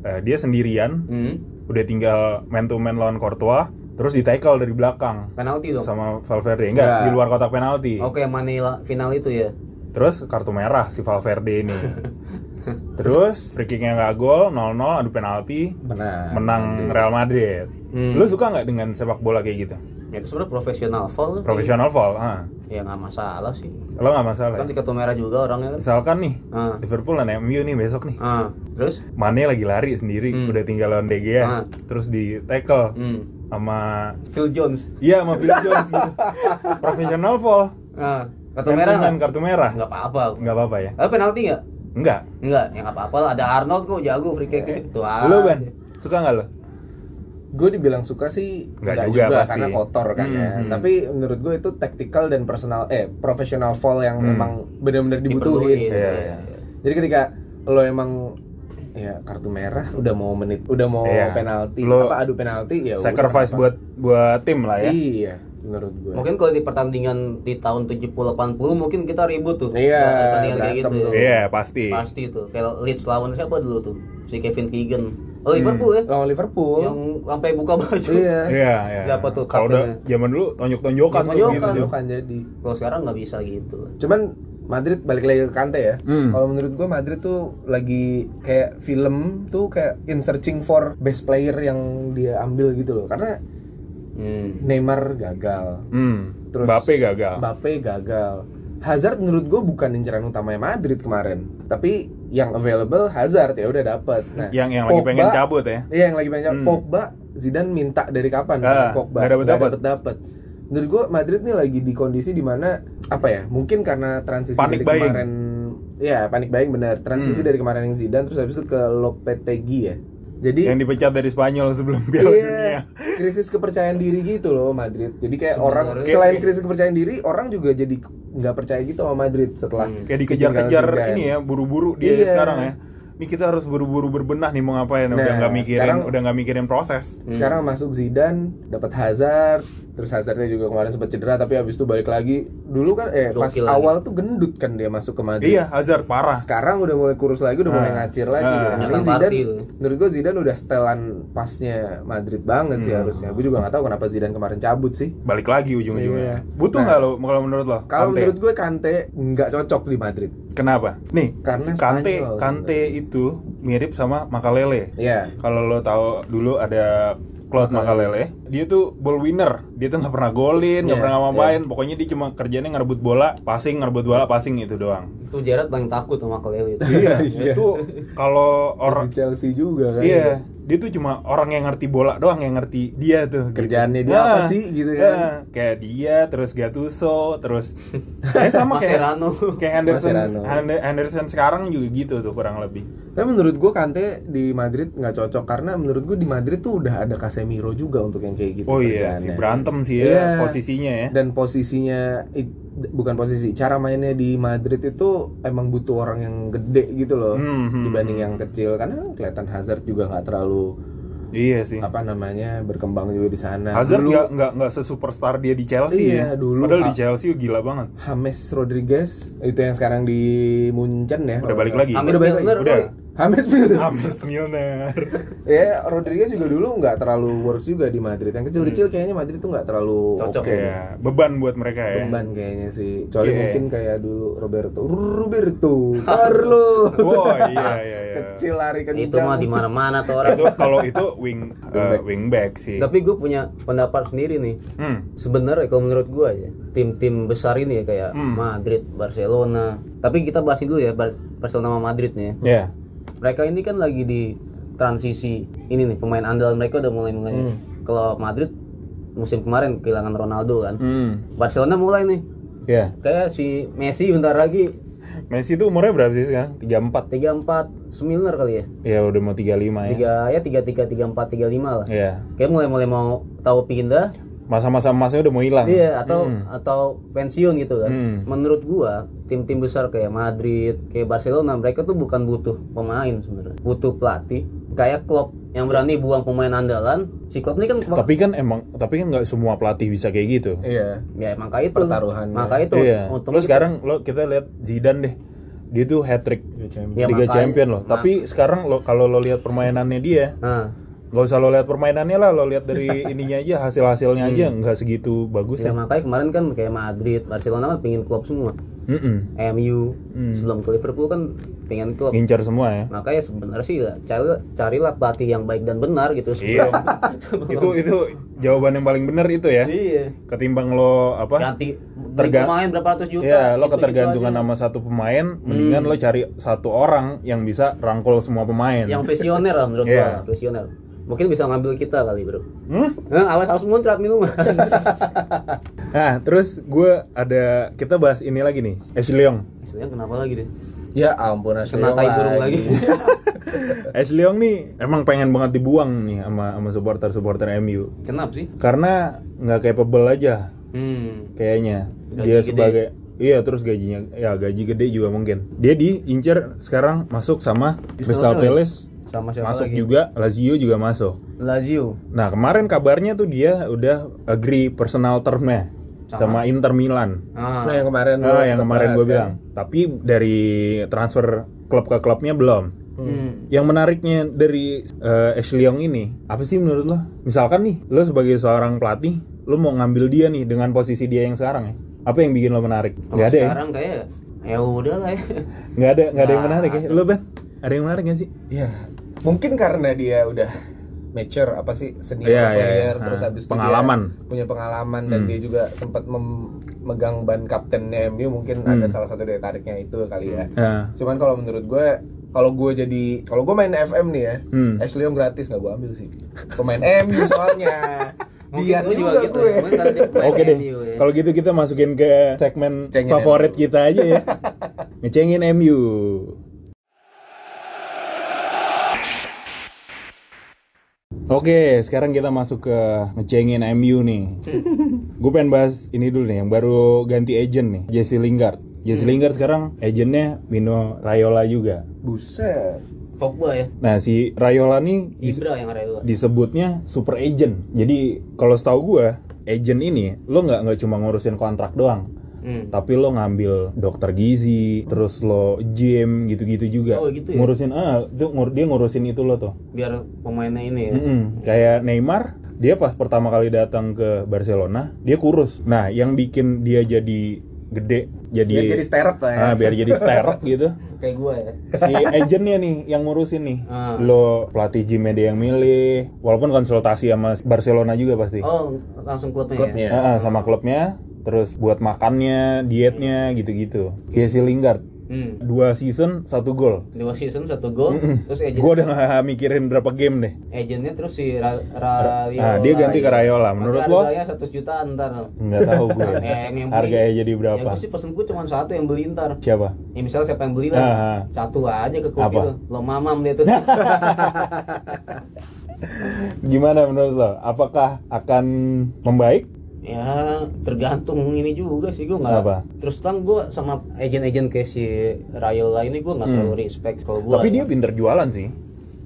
Speaker 1: eh, dia sendirian,
Speaker 2: Hmm.
Speaker 1: udah tinggal man to man lawan Courtois, terus di tackle dari belakang
Speaker 2: Penalti dong.
Speaker 1: sama Valverde. Enggak,
Speaker 3: Enggak.
Speaker 1: di luar kotak penalti.
Speaker 2: Oke, Manila final itu ya.
Speaker 1: Terus kartu merah si Valverde
Speaker 2: [LAUGHS]
Speaker 1: ini. Terus free kicknya nggak gol, 0-0, adu penalti,
Speaker 3: Benar. Gitu.
Speaker 1: menang Real Madrid.
Speaker 2: Hmm.
Speaker 1: Lu suka nggak dengan sepak bola kayak gitu?
Speaker 2: Ya itu sebenarnya profesional foul.
Speaker 1: Profesional foul, ah.
Speaker 2: Ya nggak masalah sih.
Speaker 1: lo nggak masalah.
Speaker 2: Kan
Speaker 1: ya?
Speaker 2: di kartu merah juga orangnya kan.
Speaker 1: Misalkan nih
Speaker 2: Ah.
Speaker 1: Liverpool dan MU nih besok nih,
Speaker 2: Ah, terus?
Speaker 1: Mane lagi lari sendiri,
Speaker 2: Hmm.
Speaker 1: udah tinggal lawan De Gea,
Speaker 2: Ah.
Speaker 1: terus di tackle
Speaker 2: Hmm.
Speaker 1: sama
Speaker 2: Phil Jones.
Speaker 1: iya sama Phil Jones
Speaker 2: [LAUGHS]
Speaker 1: gitu. Profesional foul.
Speaker 2: Ah, kartu
Speaker 1: Man to
Speaker 2: merah
Speaker 1: man,
Speaker 2: nggak?
Speaker 1: kartu merah.
Speaker 2: Nggak apa-apa.
Speaker 1: Nggak apa-apa ya?
Speaker 2: Eh, penalti nggak?
Speaker 1: Enggak.
Speaker 2: Enggak, ya nggak apa-apa lah. Ada Arnold kok jago free ah. kick itu.
Speaker 1: Iya.
Speaker 2: aja.
Speaker 1: Lu Ban, suka nggak lo?
Speaker 3: Gue dibilang suka sih
Speaker 1: Nggak
Speaker 3: nggak
Speaker 1: juga,
Speaker 3: juga,
Speaker 1: pasti.
Speaker 3: karena kotor kan ya.
Speaker 1: Hmm, hmm.
Speaker 3: Tapi menurut gue itu tactical dan personal eh profesional foul yang memang benar-benar
Speaker 2: Diperluin.
Speaker 3: dibutuhin.
Speaker 1: Iya,
Speaker 2: Iya,
Speaker 1: iya.
Speaker 2: iya.
Speaker 3: Jadi ketika lo emang ya kartu merah udah mau menit udah mau
Speaker 1: Iya.
Speaker 3: penalti
Speaker 1: Lo-
Speaker 3: apa adu penalti ya udah,
Speaker 1: sacrifice
Speaker 3: kenapa?
Speaker 1: buat buat tim lah ya
Speaker 3: iya menurut gue
Speaker 2: Mungkin kalau di pertandingan di tahun 70-80 mungkin kita ribut tuh.
Speaker 3: Iya,
Speaker 2: Nah, pertandingan kayak
Speaker 3: berantem
Speaker 2: gitu.
Speaker 3: tuh.
Speaker 1: iya pasti
Speaker 2: Pasti tuh. Kayak Leeds lawan siapa dulu tuh? Si Kevin Keegan. Oh, Liverpool ya.
Speaker 3: lawan Liverpool
Speaker 2: Yang sampai buka baju.
Speaker 3: iya
Speaker 1: iya iya
Speaker 2: Siapa tuh
Speaker 1: kalau udah
Speaker 2: kaptennya?
Speaker 1: zaman dulu tonjok tonjokan tuh
Speaker 2: Tonjok-tonjokan.
Speaker 1: gitu
Speaker 3: Gitu kan jadi
Speaker 2: Kalau sekarang nggak bisa gitu.
Speaker 3: cuman Madrid balik lagi ke Kante ya.
Speaker 1: Hmm.
Speaker 3: Kalau menurut gue Madrid tuh lagi kayak film tuh kayak in searching for best player yang dia ambil gitu loh. Karena
Speaker 2: Hmm.
Speaker 3: Neymar gagal,
Speaker 1: hmm.
Speaker 3: Terus-
Speaker 1: Mbappe gagal
Speaker 3: Mbappe gagal. Hazard menurut gue bukan inceran utamanya Madrid kemarin, tapi yang available Hazard ya udah dapat. Nah,
Speaker 1: yang yang lagi
Speaker 3: Pogba-
Speaker 1: pengen cabut ya
Speaker 3: Iya yang lagi pengen cabut. Pogba Zidane minta dari kapan?
Speaker 1: Ah,
Speaker 3: Pogba
Speaker 1: nggak dapet-dapet.
Speaker 3: dapet dapet. Menurut gue Madrid nih lagi di kondisi dimana apa ya? Mungkin karena transisi
Speaker 1: Panic
Speaker 3: dari
Speaker 1: buying. Hmm.
Speaker 3: kemarin, ya panik buying bener. Transisi dari kemarin yang Zidane terus habis itu ke Lopetegui ya. Jadi
Speaker 1: yang dipecat dari Spanyol sebelum Piala Dunia
Speaker 3: Iya, krisis kepercayaan diri gitu loh Madrid. Jadi kayak orang
Speaker 2: Sebenarnya-
Speaker 3: selain krisis kepercayaan diri, orang juga jadi nggak percaya gitu sama Madrid setelah
Speaker 2: Hmm.
Speaker 1: kayak dikejar-kejar
Speaker 3: ditinggal Zidane.
Speaker 1: ini ya buru-buru dia
Speaker 3: Iya.
Speaker 1: sekarang ya ini kita harus buru-buru berbenah nih mau ngapain udah
Speaker 3: Nah,
Speaker 1: nggak mikirin
Speaker 3: sekarang-
Speaker 1: udah nggak mikirin proses
Speaker 3: Sekarang masuk Zidane, dapat Hazard, terus Hazardnya juga kemarin sempat cedera tapi habis itu balik lagi. Dulu kan eh pas
Speaker 2: Gokil lagi.
Speaker 3: awal tuh gendut kan dia masuk ke Madrid.
Speaker 1: iya Hazard parah
Speaker 3: Sekarang udah mulai kurus lagi, udah mulai
Speaker 1: Ah.
Speaker 3: ngacir
Speaker 1: Ah.
Speaker 3: lagi. Ini
Speaker 2: Nyerang
Speaker 3: Zidane,
Speaker 2: party tuh.
Speaker 3: menurut gua Zidane udah setelan pasnya Madrid banget
Speaker 1: Hmm.
Speaker 3: sih harusnya. Gue juga nggak tahu kenapa Zidane kemarin cabut sih.
Speaker 1: balik lagi ujung-ujungnya
Speaker 3: Iya.
Speaker 1: butuh nggak lo kalau menurut lo
Speaker 3: Kalau
Speaker 1: Kante?
Speaker 3: menurut gue Kante nggak cocok di Madrid.
Speaker 1: Kenapa? Nih,
Speaker 3: Karena
Speaker 1: Kante
Speaker 3: Spanyol.
Speaker 1: Kante itu mirip sama Makalele.
Speaker 3: Iya.
Speaker 1: Kalau lo tahu dulu ada Claude Makalele, dia tuh ball winner. Dia tuh nggak pernah golin, nggak
Speaker 3: Iya,
Speaker 1: pernah ngapain. Pokoknya dia cuma kerjanya ngerebut bola, passing, ngerebut bola, passing itu doang.
Speaker 2: Itu Jared paling takut sama Kelele itu. [LAUGHS]
Speaker 1: Iya, itu
Speaker 3: [LAUGHS]
Speaker 1: kalau
Speaker 3: Terus
Speaker 1: orang
Speaker 3: di Chelsea juga kan.
Speaker 1: Iya, dia tuh cuma orang yang ngerti bola doang yang ngerti dia tuh. gitu.
Speaker 3: Kerjaannya dia apa sih, gitu kan?
Speaker 1: nah, kayak dia, terus Gattuso,
Speaker 3: [LAUGHS]
Speaker 1: terus eh sama kayak
Speaker 2: Mascherano.
Speaker 1: kayak Henderson.
Speaker 3: Mascherano.
Speaker 1: Hande- Henderson sekarang juga gitu tuh kurang lebih.
Speaker 3: Tapi menurut gue Kante di Madrid nggak cocok karena menurut gue di Madrid tuh udah ada Casemiro juga untuk yang kayak gitu.
Speaker 1: Oh iya,
Speaker 3: kerjaannya.
Speaker 1: sih berantem sih ya
Speaker 3: Iya.
Speaker 1: posisinya ya.
Speaker 3: Dan posisinya i- bukan posisi, cara mainnya di Madrid itu emang butuh orang yang gede gitu loh
Speaker 1: Hmm, hmm,
Speaker 3: dibanding yang kecil karena kelihatan Hazard juga nggak terlalu
Speaker 1: Iya sih.
Speaker 3: apa namanya berkembang juga di sana.
Speaker 1: Hazard
Speaker 3: Nah, Dulu
Speaker 1: nggak nggak nggak sesuperstar dia di Chelsea ya.
Speaker 3: Iya, dulu.
Speaker 1: Padahal di
Speaker 3: Ah.
Speaker 1: Chelsea gila
Speaker 3: [LAUGHS]
Speaker 1: banget.
Speaker 3: James Rodriguez itu yang sekarang di Munchen ya.
Speaker 1: Udah balik lagi.
Speaker 2: James
Speaker 3: Udah balik lagi.
Speaker 2: Milner,
Speaker 1: Udah.
Speaker 2: Roy.
Speaker 3: James Milner.
Speaker 1: Amis Milner.
Speaker 3: Ya, Rodriguez juga dulu nggak terlalu works juga di Madrid. Yang kecil-kecil kayaknya Madrid tuh nggak
Speaker 2: Hmm.
Speaker 3: terlalu
Speaker 2: Cocok. ya.
Speaker 3: oke.
Speaker 1: Iya, beban buat mereka ya.
Speaker 3: Beban kayaknya sih. Kecuali
Speaker 1: Oke.
Speaker 3: mungkin kayak dulu Roberto. Roberto,
Speaker 2: [LAUGHS]
Speaker 3: Carlo.
Speaker 1: Oh iya iya iya.
Speaker 3: kecil lari kencang.
Speaker 2: Itu mah di mana-mana tuh orang.
Speaker 1: itu kalau itu wing eh, wingback
Speaker 3: Iya.
Speaker 1: sih.
Speaker 2: Tapi gue punya pendapat sendiri nih.
Speaker 1: Hmm.
Speaker 2: Sebenarnya kalau menurut gue ya, tim-tim besar ini ya kayak Madrid, Barcelona. Tapi kita bahas dulu ya Bar- Barcelona sama Madrid nih. Ya.
Speaker 1: Ya.
Speaker 2: Mereka ini kan lagi di transisi ini nih pemain andalan mereka udah mulai mulai. Kalau Madrid musim kemarin kehilangan Ronaldo kan.
Speaker 1: Hmm.
Speaker 2: Barcelona mulai nih.
Speaker 1: Ya.
Speaker 3: iya.
Speaker 2: Kayak si Messi bentar lagi
Speaker 1: Messi itu umurnya berapa sih sekarang? 34.
Speaker 2: 34 semilner kali ya.
Speaker 1: Ya udah mau 35 ya.
Speaker 2: Tiga ya 33 34 35 lah.
Speaker 1: Ya.
Speaker 2: Kayak mulai-mulai mau tahu pindah
Speaker 1: Masa-masa emasnya udah mau hilang.
Speaker 2: Iya atau atau pensiun gitu kan.
Speaker 1: Hmm.
Speaker 2: Menurut gua tim-tim besar kayak Madrid, kayak Barcelona mereka tuh bukan butuh pemain sebenarnya, butuh pelatih kayak Klopp yang berani buang pemain andalan. Si Klopp ini kan
Speaker 1: Tapi kan emang tapi kan nggak semua pelatih bisa kayak gitu.
Speaker 3: Iya.
Speaker 2: ya maka itu
Speaker 3: Pertaruhannya.
Speaker 2: maka itu
Speaker 1: Iya.
Speaker 2: untuk
Speaker 1: Lo sekarang lo kita lihat Zidane deh. Dia tuh hat trick
Speaker 2: Ya,
Speaker 1: Liga
Speaker 2: makanya-
Speaker 1: Champion loh. Tapi sekarang lo kalau lo lihat permainannya dia,
Speaker 2: Nah,
Speaker 1: nggak usah lo lihat permainannya lah, lo lihat
Speaker 2: [LAUGHS]
Speaker 1: dari ininya aja, hasil-hasilnya aja
Speaker 2: Hmm.
Speaker 1: nggak segitu bagus ya.
Speaker 2: ya makanya kemarin kan kayak Madrid, Barcelona kan pingin Klopp semua.
Speaker 1: Mm-mm.
Speaker 2: MU
Speaker 1: Hmm.
Speaker 2: sebelum ke Liverpool kan pengen Klopp.
Speaker 1: Ngincar semua
Speaker 2: [LAUGHS]
Speaker 1: ya.
Speaker 2: Makanya sebenarnya sih ya, cari, carilah pelatih yang baik dan benar gitu. [LAUGHS]
Speaker 1: Iya. itu itu jawaban yang paling benar itu ya.
Speaker 2: Iya.
Speaker 1: Ketimbang lo apa?
Speaker 2: ganti beli
Speaker 1: Terga-
Speaker 2: pemain berapa ratus juta Gitu.
Speaker 1: Ya, lo
Speaker 2: gitu-gitu
Speaker 1: ketergantungan
Speaker 2: aja. Hmm.
Speaker 1: sama satu pemain, mendingan lo cari satu orang yang bisa rangkul semua pemain.
Speaker 2: yang visioner lah menurut
Speaker 1: Iya.
Speaker 2: gua visioner mungkin bisa ngambil kita kali bro
Speaker 1: Hmm?
Speaker 2: Eh, awas harus muncrat
Speaker 1: [LAUGHS]
Speaker 2: minuman
Speaker 1: Nah, terus gue ada kita bahas ini lagi nih, Ashley Young.
Speaker 2: Maksudnya kenapa lagi deh
Speaker 3: Ya ampun Ashley
Speaker 2: kena tai burung lagi [LAUGHS]
Speaker 1: Ashley Young nih emang pengen banget dibuang nih sama sama supporter-supporter MU
Speaker 2: kenapa sih
Speaker 1: karena nggak capable aja
Speaker 2: hmm
Speaker 1: kayaknya
Speaker 2: Gaji
Speaker 1: dia
Speaker 2: gede.
Speaker 1: sebagai Iya terus gajinya ya gaji gede juga mungkin. Dia diincer sekarang masuk sama Crystal Palace
Speaker 2: sama siapa
Speaker 1: masuk
Speaker 2: lagi?
Speaker 1: juga Lazio juga masuk.
Speaker 2: Lazio.
Speaker 1: Nah kemarin kabarnya tuh dia udah agree personal termnya sama, Inter Milan.
Speaker 2: Ah,
Speaker 3: Nah, yang kemarin
Speaker 1: Ah,
Speaker 3: lu
Speaker 1: yang
Speaker 3: sempet
Speaker 1: kemarin gue
Speaker 2: ya.
Speaker 3: bahas, kan.
Speaker 1: bilang. Tapi dari transfer klub ke klubnya belum.
Speaker 2: Hmm.
Speaker 1: Yang menariknya dari eh, Ashley Young ini apa sih menurut lo? Misalkan nih lo sebagai seorang pelatih lo mau ngambil dia nih dengan posisi dia yang sekarang ya. Apa yang bikin lo menarik?
Speaker 2: kalau
Speaker 1: Gak ada ya?
Speaker 2: sekarang kayak ya udah
Speaker 1: [LAUGHS]
Speaker 2: lah ya.
Speaker 1: Gak ada, gak ada yang
Speaker 2: Nggak
Speaker 1: menarik ya? Lo Ben, ada yang menarik gak sih?
Speaker 3: Iya. Mungkin karena dia udah mature apa sih senior
Speaker 1: Iya, iya,
Speaker 3: player
Speaker 1: iya.
Speaker 3: terus
Speaker 1: Nah,
Speaker 3: habis itu
Speaker 1: pengalaman. Hmm.
Speaker 3: dia punya pengalaman dan dia juga sempat memegang ban kaptennya MU mungkin
Speaker 1: Hmm.
Speaker 3: ada salah satu daya tariknya itu kali ya.
Speaker 1: Ya.
Speaker 3: Cuman kalau menurut gue kalau gue jadi kalau gue main FM nih ya,
Speaker 1: Hmm.
Speaker 3: Ashley Young gratis nggak gue ambil sih. Pemain MU
Speaker 1: [LAUGHS]
Speaker 3: soalnya.
Speaker 2: Mungkin
Speaker 3: Bias
Speaker 2: lu
Speaker 3: juga,
Speaker 2: gitu
Speaker 3: gue.
Speaker 2: ya. Mungkin karena dia pemain
Speaker 1: Oke deh,
Speaker 2: MU ya.
Speaker 1: kalau gitu kita masukin ke segmen
Speaker 3: Cengin
Speaker 1: favorit kita aja [LAUGHS] ya Ngecengin MU Oke, sekarang kita masuk ke ngecengin MU nih Gue pengen bahas ini dulu nih, yang baru ganti agent nih, Jesse Lingard Jesse Lingard sekarang agentnya Mino Raiola juga
Speaker 3: Buset.
Speaker 2: Pogba ya.
Speaker 1: Nah si Raiola nih dis-
Speaker 2: Ibra yang ada itu.
Speaker 1: disebutnya super agent. Jadi kalau setahu gua, agent ini lo nggak nggak cuma ngurusin kontrak doang,
Speaker 2: Hmm.
Speaker 1: tapi lo ngambil dokter gizi, terus lo gym gitu-gitu juga.
Speaker 2: Oh, gitu ya?
Speaker 1: Ngurusin ah itu ngur- dia ngurusin itu lo tuh.
Speaker 2: Biar pemainnya ini ya.
Speaker 1: Mm-mm. Kayak Neymar, dia pas pertama kali datang ke Barcelona, dia kurus. Nah, yang bikin dia jadi gede, jadi
Speaker 3: Biar jadi sterep lah ya.
Speaker 1: Ah, biar jadi sterek [LAUGHS] gitu
Speaker 2: Kayak gua
Speaker 1: [LAUGHS]
Speaker 2: ya.
Speaker 1: si agentnya nih yang ngurusin nih
Speaker 2: Ah.
Speaker 1: lo pelatih gymnya dia yang milih walaupun konsultasi sama Barcelona juga pasti
Speaker 2: Oh, langsung klubnya,
Speaker 3: Klubnya.
Speaker 2: ya.
Speaker 1: Ah, ah, sama klubnya terus buat makannya dietnya gitu-gitu ya si Lingard
Speaker 2: Hmm.
Speaker 1: dua season satu gol
Speaker 2: Dua season satu gol, terus agent
Speaker 1: gue udah nggak mikirin berapa game deh
Speaker 2: agentnya terus si Ra Ra
Speaker 1: Ah, dia ganti ke Raiola. Menurut lo?
Speaker 2: Harganya 100 jutaan ntar.
Speaker 1: nggak tahu gue
Speaker 2: [LAUGHS] Eh, yang- yang beli.
Speaker 1: harganya jadi
Speaker 2: Ya
Speaker 1: berapa
Speaker 2: gue sih pesen gue cuma satu yang beli ntar.
Speaker 1: siapa
Speaker 2: Ya misalnya siapa yang
Speaker 1: Ah,
Speaker 2: beli
Speaker 1: ah.
Speaker 2: lah, satu aja ke klub
Speaker 1: Apa?
Speaker 2: itu. Lo mamam dia
Speaker 1: [LAUGHS]
Speaker 2: tuh.
Speaker 1: gimana menurut lo apakah akan membaik
Speaker 2: ya tergantung ini juga sih gue nggak
Speaker 1: Apa?
Speaker 2: terus terang gue sama agent-agent kayak si Rayola ini gue nggak terlalu respect kalau gue
Speaker 1: Hmm. tapi dia pinter jualan sih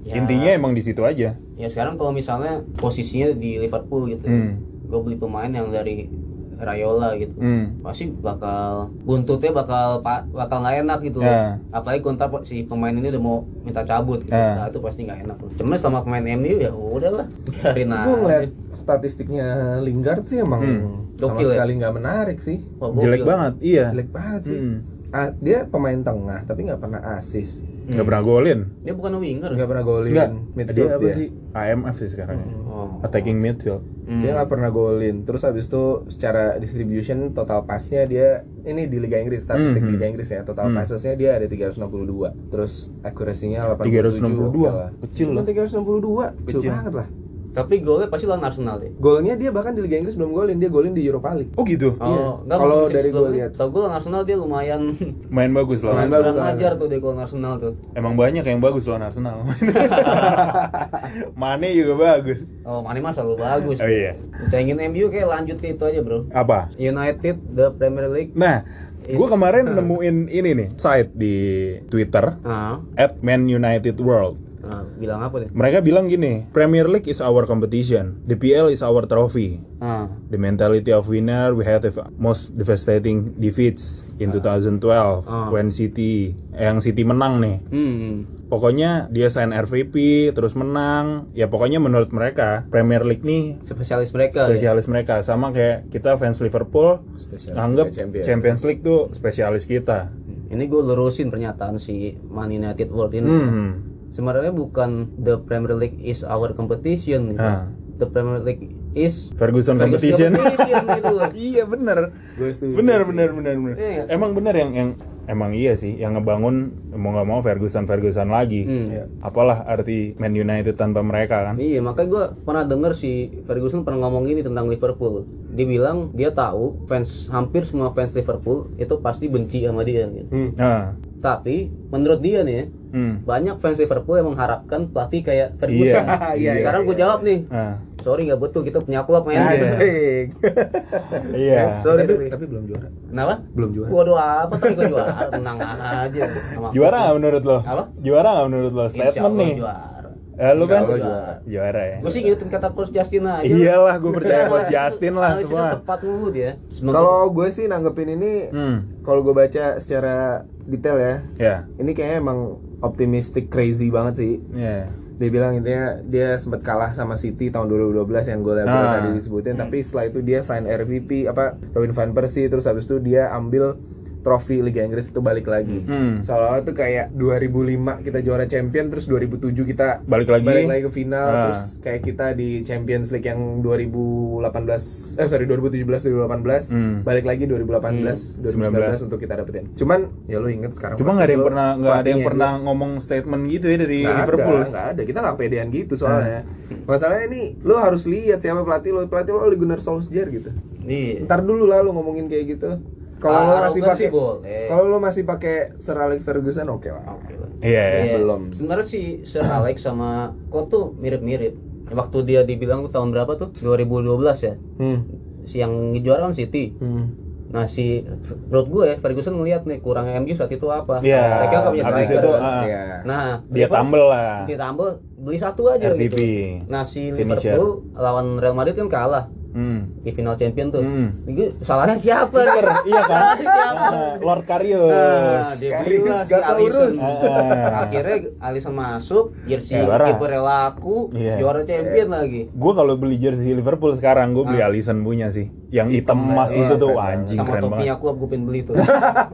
Speaker 2: Ya.
Speaker 1: intinya emang di situ aja
Speaker 2: ya sekarang kalau misalnya posisinya di Liverpool gitu
Speaker 1: Hmm.
Speaker 2: gue beli pemain yang dari Rayola gitu
Speaker 1: Hmm.
Speaker 2: pasti bakal buntutnya bakal pa- bakal nggak enak gitu
Speaker 1: Ya.
Speaker 2: apalagi kontar si pemain ini udah mau minta cabut gitu
Speaker 1: Ya.
Speaker 2: nah, itu pasti nggak enak cuman sama pemain MU ya udahlah biarin
Speaker 3: Gue ngeliat
Speaker 2: aja
Speaker 3: statistiknya Lingard sih emang
Speaker 1: Hmm.
Speaker 3: sama
Speaker 2: Gokil ya?
Speaker 3: sekali nggak menarik sih.
Speaker 2: Wah, gokil.
Speaker 1: jelek banget iya
Speaker 3: Jelek banget sih.
Speaker 1: Mm.
Speaker 3: Ah, dia pemain tengah tapi nggak pernah asis,
Speaker 1: nggak pernah golin
Speaker 2: Hmm. dia bukan winger
Speaker 3: nggak pernah golin.
Speaker 1: Enggak, dia
Speaker 3: Midfield ya.
Speaker 1: apa
Speaker 3: dia.
Speaker 1: sih? AMF sih sekarang ya.
Speaker 2: oh. Hmm.
Speaker 1: Attacking midfield.
Speaker 3: Dia nggak pernah golin. Terus habis itu secara distribution total passnya dia ini di Liga Inggris statistik
Speaker 1: Mhm.
Speaker 3: Liga Inggris ya total passesnya dia ada 362. Terus akurasinya 87.
Speaker 1: 362,
Speaker 3: Oke lah.
Speaker 1: kecil
Speaker 3: Cuma
Speaker 1: lah.
Speaker 3: 362 kecil,
Speaker 1: Kecil.
Speaker 3: banget lah.
Speaker 2: tapi golnya pasti lawan Arsenal deh
Speaker 3: Golnya dia bahkan di Liga Inggris belum golin, dia golin di Europa League.
Speaker 1: Oh gitu.
Speaker 3: Iya.
Speaker 2: Oh, enggak,
Speaker 3: Kalau
Speaker 2: maksudnya
Speaker 3: dari
Speaker 2: sebelum
Speaker 3: gua
Speaker 2: itu.
Speaker 3: lihat.
Speaker 2: Tau gue Arsenal dia
Speaker 3: [LAUGHS]
Speaker 2: lumayan
Speaker 1: Main bagus
Speaker 2: lumayan
Speaker 1: lawan
Speaker 3: bagus.
Speaker 1: Arsenal.
Speaker 2: kurang ajar tuh dia kalau Arsenal tuh.
Speaker 1: Emang banyak yang bagus lawan
Speaker 2: [LAUGHS]
Speaker 1: Arsenal. Mane juga bagus.
Speaker 2: Oh, Mane mah selalu bagus.
Speaker 1: Oh iya.
Speaker 2: Cengin MU kayak lanjut ke itu aja, Bro.
Speaker 1: Apa?
Speaker 2: United the Premier League.
Speaker 1: Nah, gue kemarin nemuin ini nih site di Twitter
Speaker 2: Ah,
Speaker 1: at Man United World.
Speaker 2: ah, bilang apa deh?
Speaker 1: Mereka bilang gini, Premier League is our competition, the PL is our trophy.
Speaker 2: Ah,
Speaker 1: The mentality of winner we had the most devastating defeats in 2012
Speaker 2: Ah.
Speaker 1: when City yang City menang nih.
Speaker 2: hmm.
Speaker 1: Pokoknya dia sign RVP terus menang. Ya pokoknya menurut mereka Premier League nih
Speaker 2: Spesialis mereka. ya?
Speaker 1: spesialis mereka sama kayak kita fans Liverpool
Speaker 3: Spesialis
Speaker 1: anggap
Speaker 3: kayak Champions.
Speaker 1: Champions. League tuh spesialis kita.
Speaker 2: Ini gue lurusin pernyataan si Man United World ini.
Speaker 1: Hmm.
Speaker 2: Sebenarnya bukan the Premier League is our competition. gitu.
Speaker 1: Ah.
Speaker 2: The Premier League is
Speaker 1: Ferguson competition.
Speaker 2: competition gitu.
Speaker 1: [LAUGHS] iya bener.
Speaker 3: Gue setuju
Speaker 1: Bener bener bener bener.
Speaker 2: Iya.
Speaker 1: Emang bener yang yang emang iya sih yang ngebangun mau nggak mau Ferguson Ferguson lagi.
Speaker 2: Hmm.
Speaker 3: Iya.
Speaker 1: Apalah arti Man United tanpa mereka kan?
Speaker 2: Iya, makanya gue pernah denger si Ferguson pernah ngomong gini tentang Liverpool. Dia bilang dia tahu fans hampir semua fans Liverpool itu pasti benci sama dia. Gitu.
Speaker 1: Nah,
Speaker 2: Tapi menurut dia nih ya,
Speaker 1: Hmm.
Speaker 2: banyak fans Liverpool yang mengharapkan pelatih kayak Ferguson.
Speaker 1: Iya,
Speaker 3: [LAUGHS] iya,
Speaker 2: Sekarang gue jawab nih,
Speaker 1: Ah,
Speaker 2: sorry nggak betul kita punya klub main. Eh,
Speaker 3: Asik.
Speaker 1: [LAUGHS] iya.
Speaker 2: Sorry,
Speaker 3: tapi,
Speaker 2: sorry.
Speaker 3: [LAUGHS] tapi belum juara.
Speaker 2: Kenapa?
Speaker 3: Belum juara.
Speaker 2: Waduh apa tadi gue juara, tenang aja. Sama aku.
Speaker 1: Juara nggak menurut lo?
Speaker 2: Apa?
Speaker 1: Juara nggak menurut lo?
Speaker 2: Insya
Speaker 1: Statement
Speaker 2: Allah
Speaker 1: nih.
Speaker 2: Juara.
Speaker 1: Eh, lo kan?
Speaker 3: Insya Allah
Speaker 1: Juara.
Speaker 3: juara.
Speaker 1: ya.
Speaker 2: Gue sih ngikutin kata coach Justin aja.
Speaker 1: Iyalah, gue percaya coach Justin lah
Speaker 2: Analisisnya
Speaker 1: semua.
Speaker 2: Tepat ya. mulu dia.
Speaker 3: Kalau gue sih nanggepin ini
Speaker 1: Hmm.
Speaker 3: kalau gue baca secara detail ya.
Speaker 1: Ya.
Speaker 3: Ini kayaknya emang optimistic crazy banget sih.
Speaker 1: Ya.
Speaker 3: Dia bilang intinya dia sempat kalah sama City tahun 2012 yang gue lihat
Speaker 1: Ah.
Speaker 3: tadi disebutin tapi setelah itu dia sign RVP apa Robin van Persie terus habis itu dia ambil trofi Liga Inggris itu balik lagi.
Speaker 1: Hmm.
Speaker 3: Seolah-olah tuh kayak 2005 kita juara champion terus 2007 kita
Speaker 1: Balik lagi.
Speaker 3: balik lagi ke final
Speaker 1: Ah.
Speaker 3: terus kayak kita di Champions League yang 2018 eh sorry 2017 2018
Speaker 1: Hmm.
Speaker 3: balik lagi 2018
Speaker 1: 19.
Speaker 3: 2019 untuk kita dapetin. Cuman ya lu inget sekarang.
Speaker 1: Cuma nggak ada yang pernah nggak ada yang
Speaker 3: pelatihnya
Speaker 1: pernah ngomong statement gitu ya Hmm. dari
Speaker 3: Nggak
Speaker 1: Liverpool.
Speaker 3: ada, nggak ada. Kita nggak pedean gitu soalnya. Masalahnya ini lu harus lihat siapa pelatih lu. Pelatih lu Ole Gunnar Solskjaer gitu.
Speaker 2: Iya.
Speaker 3: Ntar dulu lah lu ngomongin kayak gitu. Kalau lu
Speaker 2: Ah,
Speaker 3: masih
Speaker 2: arogan
Speaker 3: pakai
Speaker 2: sih boleh.
Speaker 3: Kalau lu masih pakai Sir Alex Ferguson oke lah.
Speaker 2: Oke lah.
Speaker 1: Iya. ya.
Speaker 2: Iya.
Speaker 3: belum.
Speaker 2: Sebenarnya si Sir Alex sama Klopp tuh mirip-mirip. Waktu dia dibilang tuh tahun berapa tuh? 2012 ya.
Speaker 3: Hmm.
Speaker 2: Si yang juara kan City.
Speaker 3: Hmm.
Speaker 2: Nah si menurut gue ya, Ferguson ngeliat nih kurangnya MU saat itu apa?
Speaker 1: Iya.
Speaker 2: Mereka nggak punya
Speaker 1: Habis
Speaker 2: striker.
Speaker 1: itu, ah.
Speaker 3: Iya.
Speaker 2: Nah
Speaker 1: Dia
Speaker 2: Liverpool-
Speaker 1: tambel lah.
Speaker 2: Dia tambel beli satu aja
Speaker 1: RVP.
Speaker 2: gitu. Nah si
Speaker 1: Finisher.
Speaker 2: Liverpool lawan Real Madrid kan kalah
Speaker 1: Hmm.
Speaker 2: di final champion tuh.
Speaker 1: Hmm.
Speaker 2: Ini salahnya
Speaker 1: [LAUGHS]
Speaker 2: siapa?
Speaker 1: Bener, iya kan?
Speaker 2: siapa?
Speaker 1: Ah, Lord Karius.
Speaker 2: Nah, dia
Speaker 3: Karius
Speaker 2: belilah si
Speaker 3: gak tahu
Speaker 2: Alisson.
Speaker 3: urus.
Speaker 1: Ah.
Speaker 2: Akhirnya Alisson masuk, jersey
Speaker 1: Ya, juara.
Speaker 2: kiper laku,
Speaker 1: Iya.
Speaker 2: juara champion lagi.
Speaker 1: Gue kalau beli jersey Liverpool sekarang gue beli Alisson punya sih, yang hitam emas
Speaker 3: iya,
Speaker 1: itu tuh
Speaker 3: keren
Speaker 1: wah, anjing
Speaker 2: Sama
Speaker 1: keren banget.
Speaker 2: topinya klub gue pengen
Speaker 1: [LAUGHS]
Speaker 2: beli tuh.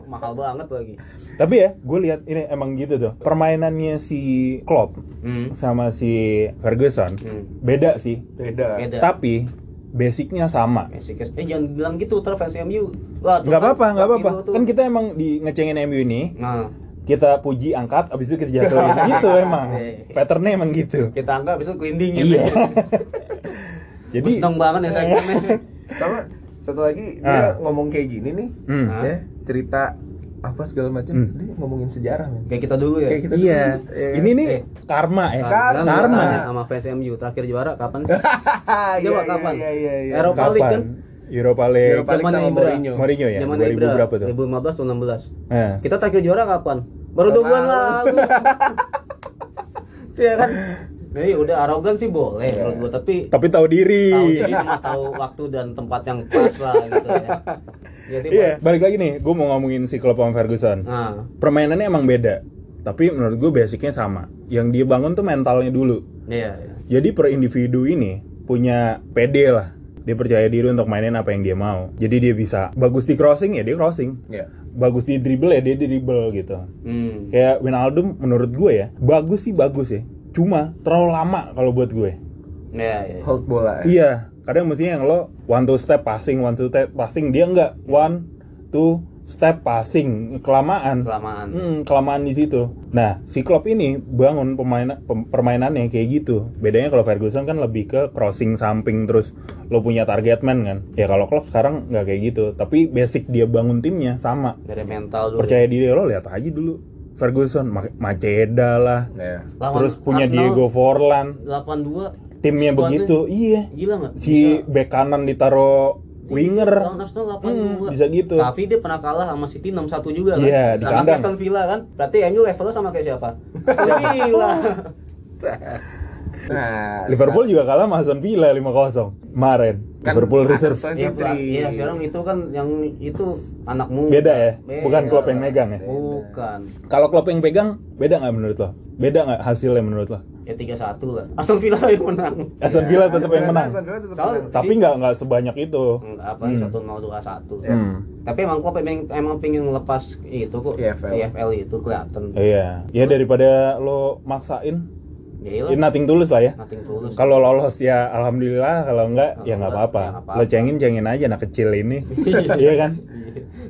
Speaker 2: Mahal banget lagi.
Speaker 1: Tapi ya, gue lihat ini emang gitu tuh permainannya si Klopp
Speaker 2: Hmm.
Speaker 1: sama si Ferguson beda sih,
Speaker 3: Beda.
Speaker 2: Beda.
Speaker 1: tapi basicnya sama.
Speaker 2: Messi kes- Eh jangan bilang gitu ntar fans MU. Wah, tuh
Speaker 1: Nggak
Speaker 2: kan
Speaker 1: apa-apa, nggak
Speaker 2: klub
Speaker 1: apa-apa.
Speaker 2: itu tuh.
Speaker 1: Kan kita emang di ngecengin MU ini,
Speaker 2: Nah,
Speaker 1: kita puji angkat, abis itu kita jatuhin gitu emang.
Speaker 2: Iya.
Speaker 1: Patternnya emang gitu.
Speaker 2: kita anggap besok glinding gitu.
Speaker 1: Iya. [LAUGHS]
Speaker 2: [LAUGHS]
Speaker 1: Jadi, Iya.
Speaker 2: Seneng banget ya saya
Speaker 3: sama satu lagi
Speaker 1: Ah.
Speaker 3: dia ngomong kayak gini nih
Speaker 1: Hmm.
Speaker 2: Ah.
Speaker 3: ya cerita apa segala macam dia ngomongin sejarah men
Speaker 2: Kayak kita dulu ya.
Speaker 3: kayak kita
Speaker 1: iya,
Speaker 3: dulu, ya kan?
Speaker 1: ini nih karma ya,
Speaker 2: Karena gua
Speaker 1: karma.
Speaker 2: tanya sama fans MU terakhir juara kapan?
Speaker 1: [LAUGHS]
Speaker 3: Hahaha,
Speaker 2: Coba
Speaker 3: iya,
Speaker 2: kapan?
Speaker 3: iya, iya, iya.
Speaker 2: Eropa League kan?
Speaker 1: Europa League.
Speaker 3: Europa League
Speaker 2: Zamannya
Speaker 3: sama
Speaker 2: Ibra.
Speaker 3: Mourinho.
Speaker 1: Mourinho ya?
Speaker 2: Zaman
Speaker 1: 2000
Speaker 2: Ibra,
Speaker 1: berapa tuh?
Speaker 2: 2015 atau 16.
Speaker 1: Eh.
Speaker 2: Kita terakhir juara kapan? Baru dua
Speaker 3: Tahun
Speaker 2: bulan
Speaker 3: lalu.
Speaker 2: lalu. [LAUGHS] Iya kan? Jadi udah arogan sih boleh
Speaker 1: Iya.
Speaker 2: menurut gua, tapi
Speaker 1: Tapi tahu diri.
Speaker 2: tahu diri sama tahu waktu dan tempat yang pas lah gitu ya. Jadi
Speaker 1: [LAUGHS] Iya, balik lagi nih, gue mau ngomongin si Klopp sama Ferguson.
Speaker 2: nah,
Speaker 1: Permainannya emang beda, tapi menurut gue basicnya sama. Yang dia bangun tuh mentalnya dulu.
Speaker 2: iya, iya.
Speaker 1: Jadi per individu ini punya PD lah. Dia percaya diri untuk mainin apa yang dia mau. Jadi dia bisa bagus di crossing ya dia crossing.
Speaker 3: Iya.
Speaker 1: Bagus di dribble ya dia dribble gitu.
Speaker 2: Hmm.
Speaker 1: Kayak Wijnaldum menurut gue ya, bagus sih bagus ya. Cuma terlalu lama kalau buat gue.
Speaker 2: Iya, iya.
Speaker 3: hold bola ya.
Speaker 1: Iya, kadang mestinya yang lo one two step passing, one two step passing dia nggak one two step passing kelamaan.
Speaker 2: Kelamaan.
Speaker 1: Hmm, kelamaan di situ. Nah, si Klopp ini bangun pemain pem- permainannya kayak gitu. Bedanya kalau Ferguson kan lebih ke crossing samping terus lo punya target man kan. Ya kalau Klopp sekarang nggak kayak gitu. Tapi basic dia bangun timnya sama.
Speaker 2: Dari mental dulu.
Speaker 1: Percaya diri lo lihat aja dulu. Ferguson, Ma- Maceda lah.
Speaker 2: [LAUGHS]
Speaker 3: Iya.
Speaker 2: Lawan
Speaker 1: terus punya
Speaker 2: Arsenal
Speaker 1: Diego Forlan.
Speaker 2: 82
Speaker 1: Timnya
Speaker 2: Lawannya-
Speaker 1: begitu. Iya.
Speaker 2: gila nggak?
Speaker 1: Si
Speaker 2: Bisa. Iya,
Speaker 1: bek kanan ditaro winger.
Speaker 2: Lawan Arsenal 82
Speaker 1: Hmm, bisa gitu.
Speaker 2: Tapi dia pernah kalah sama City 6-1 juga kan?
Speaker 1: Iya, di
Speaker 2: sama
Speaker 1: kandang.
Speaker 2: Aston Villa kan? Berarti MU levelnya sama kayak
Speaker 1: [LAUGHS]
Speaker 2: siapa? Gila. Iya,
Speaker 3: nah
Speaker 1: Liverpool juga kalah sama Aston Villa 5-0 kemarin.
Speaker 3: Kan
Speaker 1: Liverpool
Speaker 3: ada
Speaker 1: reserve.
Speaker 2: Iya,
Speaker 3: Soalnya Putri.
Speaker 2: Pak. Iya, sekarang itu kan yang itu anak muda.
Speaker 1: Beda ya?
Speaker 2: Beda.
Speaker 1: Bukan klub yang megang ya?
Speaker 2: Bukan.
Speaker 1: Kalau klub yang pegang beda nggak menurut lo? Beda nggak hasilnya menurut lo?
Speaker 2: Ya 3-1 lah. Aston Villa [LAUGHS] yang menang.
Speaker 1: Aston Villa tetap yang menang.
Speaker 3: Iya, Aston Villa tetap
Speaker 2: Soal-
Speaker 3: menang.
Speaker 1: Tapi nggak nggak sebanyak itu.
Speaker 2: Enggak apa 1-0 2-1.
Speaker 3: Iya.
Speaker 1: Hmm.
Speaker 2: Tapi emang klub emang, emang pingin lepas itu kok.
Speaker 3: EFL.
Speaker 2: EFL itu kelihatan.
Speaker 1: Iya. Ya daripada lo maksain,
Speaker 2: Ya
Speaker 1: ya
Speaker 2: iyalah.
Speaker 1: nothing tulus lah ya.
Speaker 2: Nothing tulus.
Speaker 1: Kalau lolos ya alhamdulillah, kalau enggak ya nggak
Speaker 2: Enggak,
Speaker 1: apa-apa.
Speaker 2: ya nggak apa-apa.
Speaker 1: Lo cengin cengin aja anak kecil
Speaker 2: [LAUGHS]
Speaker 1: ini, iya kan?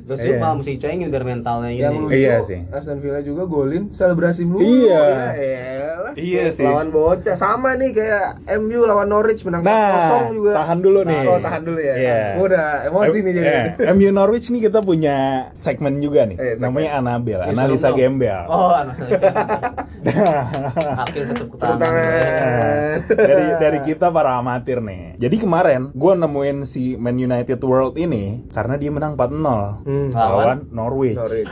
Speaker 2: Terus
Speaker 1: Iya.
Speaker 2: juga malah mesti cengin biar mentalnya ini.
Speaker 3: yang
Speaker 1: Iya
Speaker 3: iya
Speaker 1: sih.
Speaker 3: Aston Villa juga golin selebrasi mulu
Speaker 1: Iya.
Speaker 3: ya elah. lah.
Speaker 1: Iya sih.
Speaker 3: Lawan bocah sama nih kayak MU lawan Norwich menang
Speaker 1: Nah,
Speaker 3: 0 juga.
Speaker 1: tahan dulu nih.
Speaker 3: Oh, tahan dulu ya.
Speaker 1: Iya.
Speaker 3: Gua udah emosi nih jadi.
Speaker 1: Eh, MU Norwich nih kita punya segmen juga nih.
Speaker 3: Eh, segmen.
Speaker 1: Namanya Anabel, analisa
Speaker 2: Sebelum-
Speaker 1: gembel.
Speaker 2: Oh, analisa gembel. Akhir tutup
Speaker 3: Tepuk
Speaker 2: ya.
Speaker 3: tangan.
Speaker 1: [LAUGHS] dari dari kita para amatir nih. Jadi kemarin gue nemuin si Man United World ini karena dia menang 4-0
Speaker 3: Hmm.
Speaker 1: lawan Norwich.
Speaker 3: Norwich.